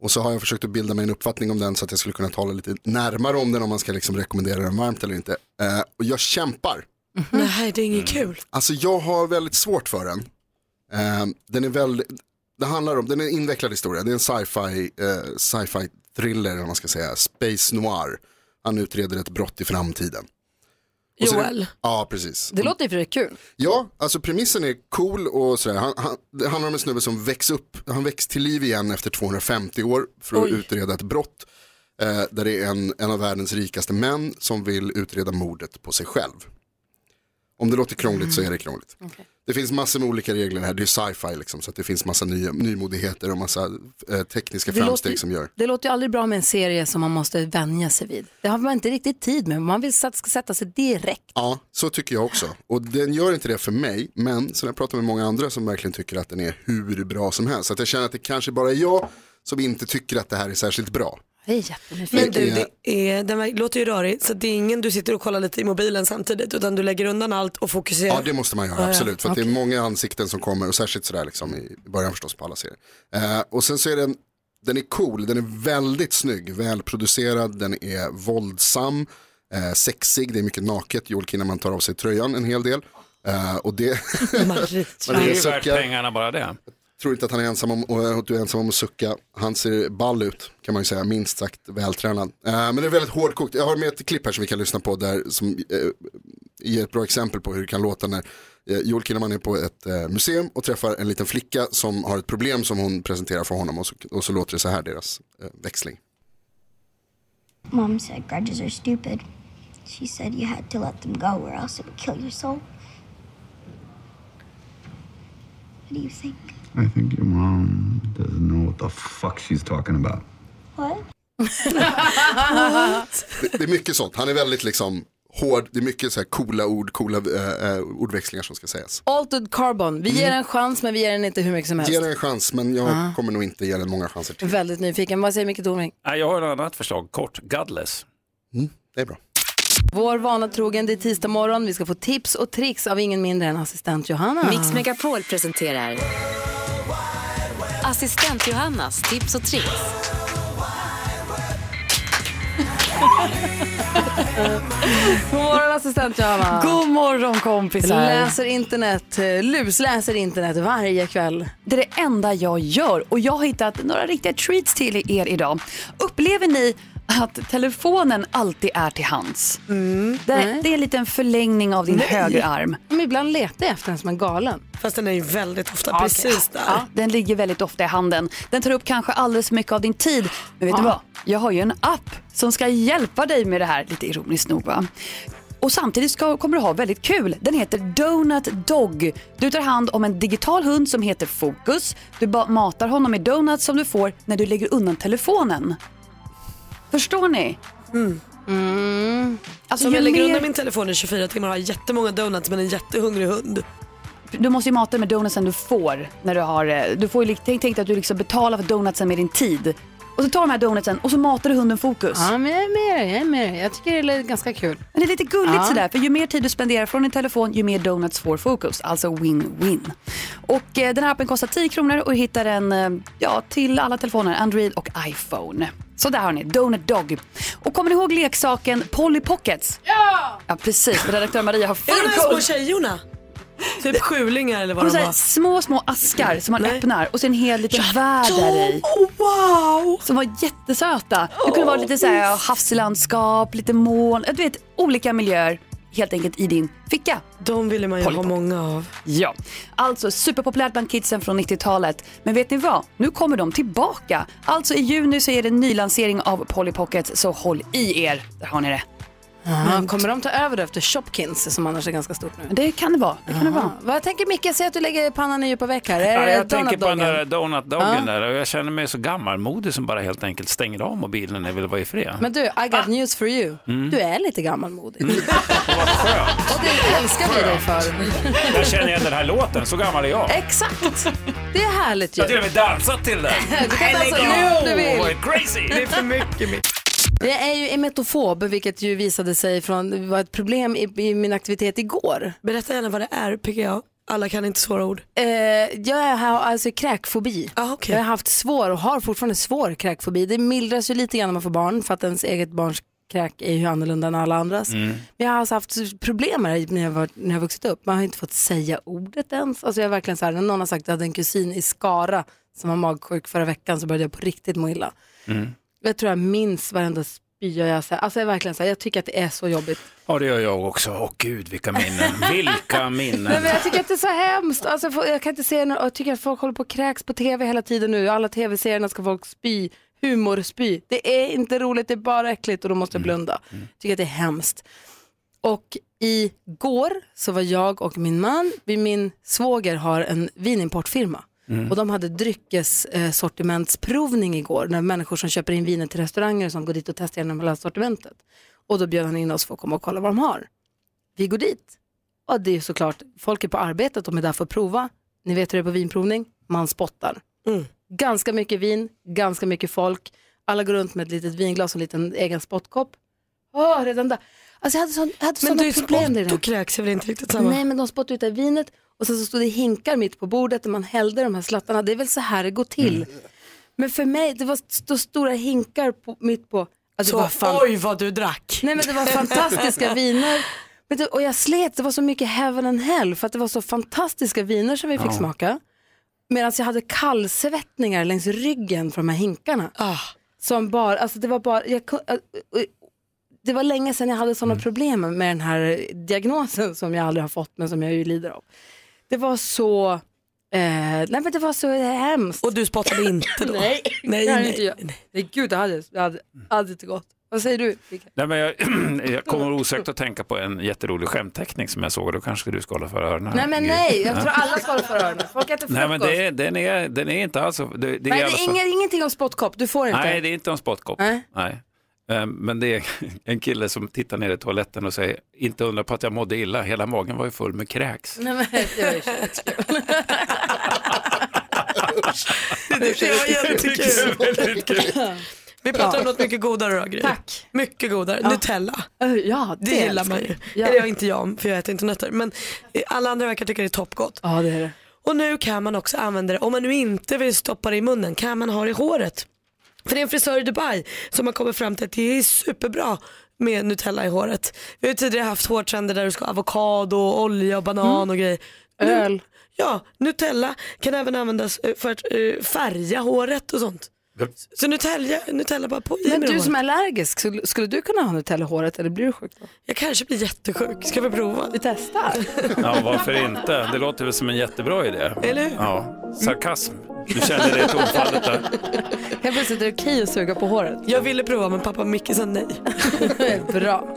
Speaker 9: Och så har jag försökt att bilda mig en uppfattning om den så att jag skulle kunna tala lite närmare om den om man ska liksom rekommendera den varmt eller inte. Eh, och jag kämpar.
Speaker 2: Nej, det är inget kul.
Speaker 9: Alltså jag har väldigt svårt för den. Eh, den är väldigt, det handlar om, den är en invecklad historia, det är en sci-fi, eh, sci-fi thriller, om man ska säga, space noir. Han utreder ett brott i framtiden. Och så- Mm.
Speaker 2: Joel.
Speaker 9: Ja, precis.
Speaker 14: Det låter ju för det är kul.
Speaker 9: Ja, alltså premissen är cool och sådär. Han, han, det handlar om en snubbe som väcks upp, han väcks till liv igen efter 250 år för att
Speaker 14: Oj.
Speaker 9: utreda ett brott. Eh, där det är en, en av världens rikaste män som vill utreda mordet på sig själv. Om det låter krångligt så är det krångligt. Det finns massor med olika regler här, det är sci-fi liksom, så att det finns massa nya, nymodigheter och massa eh, tekniska
Speaker 1: Det
Speaker 9: framsteg
Speaker 1: låter-
Speaker 9: som gör.
Speaker 1: Det låter ju aldrig bra med en serie som man måste vänja sig vid. Det har man inte riktigt tid med. Man vill s- ska sätta sig direkt.
Speaker 9: Ja, så tycker jag också. Och den gör inte det för mig, men sen har jag pratat med många andra som verkligen tycker att den är hur bra som helst. Så att jag känner att det kanske bara är jag som inte tycker att det här är särskilt bra.
Speaker 1: Jag är jättenyfiken.
Speaker 2: Men du,
Speaker 9: är-
Speaker 2: det är, den verk- låter ju rörig så det är ingen du sitter och kollar lite i mobilen samtidigt utan du lägger undan allt och fokuserar.
Speaker 9: Ja, det måste man
Speaker 2: Ja,
Speaker 9: göra,
Speaker 2: ja.
Speaker 9: absolut. För att det
Speaker 2: Okej.
Speaker 9: är många ansikten som kommer, och särskilt sådär liksom i i början förstås på alla serier. Eh, och sen så är den, den är cool, den är väldigt snygg, välproducerad, den är våldsam, eh, sexig, det är mycket naket, Joel Kinnaman tar av sig tröjan en hel del. Eh, och det...
Speaker 17: Det är ju värt pengarna bara
Speaker 1: Eh,
Speaker 17: det.
Speaker 9: tror inte att han är ensam om, och att du är ensam om att sucka. Han ser ball ut, kan man ju säga, minst sagt vältränad. Eh, men det är väldigt hårdkokt. Jag har med ett klipp här som vi kan lyssna på där som eh, ger ett bra exempel på hur det kan låta när eh, Joel Kinnaman är på ett eh, museum och träffar en liten flicka som har ett problem som hon presenterar för honom och så, och så låter det så här, deras eh, växling.
Speaker 18: Mom said grudges are stupid. She said you had to let them go or else it would kill your soul. What do you think?
Speaker 19: I think your mom doesn't know what the fuck she's talking about.
Speaker 18: What?
Speaker 9: Det, det är mycket sånt, han är väldigt liksom hård, det är mycket så här coola ord, coola eh, eh, ordväxlingar som ska sägas.
Speaker 1: Altered Carbon. Vi ger
Speaker 9: Mm.
Speaker 1: den en chans men vi ger den inte hur mycket som helst.
Speaker 9: Ge den en chans men jag
Speaker 1: Ah.
Speaker 9: kommer nog inte ge den många chanser till.
Speaker 1: Väldigt nyfiken. Vad säger Micke Tornving?
Speaker 17: Nej, jag har ett annat förslag, kort. Godless.
Speaker 9: Mm, det är bra.
Speaker 1: Vår vana trogen, det är tisdag morgon. Vi ska få tips och tricks av ingen mindre än assistent Johanna.
Speaker 13: Mix Megapol presenterar Assistent Johannas tips och tricks.
Speaker 1: God morgon assistent Johanna.
Speaker 14: God morgon kompisar.
Speaker 1: Läser internet, eh, lusläser internet varje kväll.
Speaker 14: Det är det enda jag gör och jag har hittat några riktiga treats till er idag. Upplever ni att telefonen alltid är till hands? Det,
Speaker 1: Mm. Nej.
Speaker 14: det är en liten förlängning av din
Speaker 1: Nej.
Speaker 14: högerarm.
Speaker 1: Men ibland letar jag efter den som en galen.
Speaker 2: Fast den är ju väldigt ofta
Speaker 14: Ja,
Speaker 2: precis
Speaker 14: okej.
Speaker 2: där.
Speaker 14: Ja, den ligger väldigt ofta i handen. Den tar upp kanske alldeles för mycket av din tid. Men vet du vad? Jag har ju en app som ska hjälpa dig med det här, lite ironiskt nog va? Och samtidigt ska, kommer du ha väldigt kul. Den heter Donut Dog. Du tar hand om en digital hund som heter Fokus. Du ba- matar honom med donuts som du får när du lägger undan telefonen. Förstår ni? Alltså,
Speaker 2: Som
Speaker 14: ju
Speaker 2: Mm. jag lägger
Speaker 14: mer-
Speaker 2: undan min telefon i 24 timmar och har jättemånga donuts men en jättehungrig hund.
Speaker 14: Du måste ju mata den med donutsen du får. När du har, eh, du får ju, lik- tänk, tänk dig att du liksom betalar för donutsen med din tid. Och så tar du de här donutsen och så matar du hunden fokus.
Speaker 1: Ja, men jag är med dig, jag är med dig. Jag tycker det är ganska kul.
Speaker 14: Men det är lite gulligt
Speaker 1: Ja.
Speaker 14: sådär, för ju mer tid du spenderar från din telefon, ju mer donuts får fokus. Alltså win-win. Och eh, den här appen kostar 10 kronor och hittar den eh, ja, till alla telefoner, Android och iPhone. Så där har ni, Donut Dog. Och kommer ni ihåg leksaken Polly Pockets? Ja! Ja, precis. Redaktör Maria har full
Speaker 2: Är det de här
Speaker 14: koll.
Speaker 2: små tjejorna? Typ sjulingar eller vad
Speaker 14: Och
Speaker 2: de
Speaker 14: så
Speaker 2: var.
Speaker 14: här, små, små askar som man öppnar och så är det en hel liten värld där i.
Speaker 2: oh, wow!
Speaker 14: Som var jättesöta. Det kunde vara lite så här, havslandskap, lite moln, du vet olika miljöer helt enkelt i din ficka.
Speaker 2: De ville man ju ha många av.
Speaker 14: Ja, alltså superpopulärt bland kidsen från 90-talet. Men vet ni vad? Nu kommer de tillbaka. Alltså i juni så är det en nylansering av Polly Pocket, så håll i er. Där har ni det.
Speaker 1: Ja, kommer de ta över det efter Shopkins som annars är ganska stort nu?
Speaker 14: Det kan det vara. Det kan det vara.
Speaker 1: Vad tänker Micke? Säg att du lägger pannan i djupa veck här. Är
Speaker 17: Ja,
Speaker 1: det
Speaker 17: jag tänker på den
Speaker 1: donutdoggen?
Speaker 17: där donut-dagen
Speaker 1: Ja.
Speaker 17: där och jag känner mig så gammalmodig som bara helt enkelt stänger av mobilen när jag vill vara i fred.
Speaker 1: Men du, I got news for you.
Speaker 17: Mm.
Speaker 1: Du är lite gammalmodig. Och det älskar vi dig för.
Speaker 17: Där känner jag den här låten, så gammal är jag.
Speaker 1: Exakt. Det är härligt
Speaker 17: Jag
Speaker 1: ju.
Speaker 17: har till och med dansat till den.
Speaker 1: Du kan dansa nu om du vill.
Speaker 17: Vad Crazy! Det är för mycket mitt.
Speaker 1: Det är ju emetofob, vilket ju visade sig från, var ett problem i, i min aktivitet igår.
Speaker 2: Berätta gärna vad det är PGA. Alla kan inte svåra ord.
Speaker 1: Eh, jag har alltså kräkfobi. Jag har haft svår och har fortfarande svår kräkfobi. Det mildras ju lite grann när man får barn för att ens eget barns kräk är ju annorlunda än alla andras.
Speaker 20: Mm.
Speaker 1: Men jag har alltså haft problem med det när jag, var, när jag vuxit upp. Man har inte fått säga ordet ens. Alltså jag är verkligen så här, när någon har sagt att jag hade en kusin i Skara som var magsjuk förra veckan så började jag på riktigt må illa.
Speaker 20: Mm.
Speaker 1: Jag tror jag minns varenda spyar jag. Så här. Alltså jag är verkligen så här, jag tycker att det är så jobbigt.
Speaker 17: Ja, det gör jag också. Åh gud, vilka minnen. Vilka
Speaker 1: Nej,
Speaker 17: minnen.
Speaker 1: men jag tycker att det är så hemskt. Alltså, jag får- jag kan inte se när, jag tycker att folk håller på och kräks på tv hela tiden nu. I Alla tv-serierna ska folk spy, humorspy. Det är inte roligt, det är bara äckligt och då måste jag blunda. Tycker att det är hemskt. Och igår så var jag och min man, vi- min svåger har en vinimportfirma.
Speaker 20: Mm.
Speaker 1: Och de hade dryckessortimentsprovning igår när människor som köper in viner till restauranger och sånt går dit och testar igenom hela sortimentet. Och då bjöd han in oss för att komma och kolla vad de har. Vi går dit. Och det är såklart, folk är på arbetet, de är där för att prova. Ni vet hur det är på vinprovning, man spottar.
Speaker 2: Mm.
Speaker 1: Ganska mycket vin, ganska mycket folk. Alla går runt med ett litet vinglas och en liten egen spottkopp. Åh, redan där. Alltså jag hade, sån, jag hade
Speaker 2: Men
Speaker 1: såna
Speaker 2: du,
Speaker 1: problem med det.
Speaker 2: då kräks är väl inte riktigt samma?
Speaker 1: Nej, men de spottade ut det här vinet och sen så stod det hinkar mitt på bordet där man hällde de här slattarna. Det är väl så här det går till.
Speaker 2: Mm.
Speaker 1: Men för mig, det var st- stora hinkar på, mitt på. Alltså,
Speaker 2: Så,
Speaker 1: det var
Speaker 2: oj vad du drack.
Speaker 1: Nej men det var fantastiska viner. Vet du, och jag slet, det var så mycket heaven and hell för att det var så fantastiska viner som vi fick
Speaker 20: Ja.
Speaker 1: smaka. Medan jag hade kallsvettningar längs ryggen från de här hinkarna.
Speaker 2: Ah.
Speaker 1: Som bara, alltså det var bara, jag, ku- äh, äh, det var länge sedan jag hade sådana problem med den här diagnosen som jag aldrig har fått men som jag ju lider av. Det var så, eh, nej men det var så hemskt. Och
Speaker 2: du spottade inte då?
Speaker 1: nej,
Speaker 2: Nej,
Speaker 1: det hade
Speaker 2: nej,
Speaker 1: inte jag. Nej, gud det hade, det hade, hade inte gått. Vad säger du? Rickard?
Speaker 17: Nej, men jag, jag kommer osökt att tänka på en jätterolig skämtteckning som jag såg. Då kanske du ska hålla för öronen.
Speaker 1: Nej men nej, jag
Speaker 17: Ja.
Speaker 1: tror alla ska hålla för öronen. Folk äter frukost.
Speaker 17: Nej, men det, är- den, är, den är inte alls... Det, det är
Speaker 1: Nej,
Speaker 17: i
Speaker 1: det
Speaker 17: alla
Speaker 1: är
Speaker 17: fall-
Speaker 1: inget, ingenting om spottkopp, du får inte.
Speaker 17: Nej, det är inte en spottkopp.
Speaker 1: Nej.
Speaker 17: Nej. Eh, Men det är en kille som tittar ner i toaletten och säger, inte undra på att jag mådde illa, hela magen var ju full med kräks.
Speaker 1: Nej, men, det var ju
Speaker 2: Det var jättekul. Vi pratar om något mycket godare då, Gry.
Speaker 1: Tack.
Speaker 2: Mycket godare. Nutella.
Speaker 1: Ja,
Speaker 2: det,
Speaker 1: det
Speaker 2: gillar man ju.
Speaker 1: älskar jag.
Speaker 2: Eller jag inte jag, för jag äter inte nötter. Men eh, alla andra verkar tycka det är toppgott.
Speaker 1: Ja, det är det.
Speaker 2: Och nu kan man också använda det, om man nu inte vill stoppa det i munnen, kan man ha det i håret. För det är en frisör i Dubai som har kommit fram till att det är superbra med Nutella i håret. Vi har ju tidigare haft hårtrender där du ska ha avokado, olja och banan och grejer. Nu-
Speaker 1: Mm. Öl.
Speaker 2: Ja, Nutella kan även användas eh, för att eh, färga håret och sånt. Så Nutella, Nutella bara på i
Speaker 1: Men
Speaker 2: med
Speaker 1: du
Speaker 2: håret.
Speaker 1: som är allergisk, skulle, skulle du kunna ha Nutella i håret eller blir du sjuk då?
Speaker 2: Jag kanske blir jättesjuk. Ska vi prova?
Speaker 1: Vi testar.
Speaker 17: Ja, varför inte? Det låter väl som en jättebra idé.
Speaker 1: Eller hur?
Speaker 17: Ja, sarkasm. Du kände det i tonfallet där.
Speaker 1: Helt plötsligt är det okej att suga på håret.
Speaker 2: Jag ville prova men pappa Micke sa nej.
Speaker 1: Bra.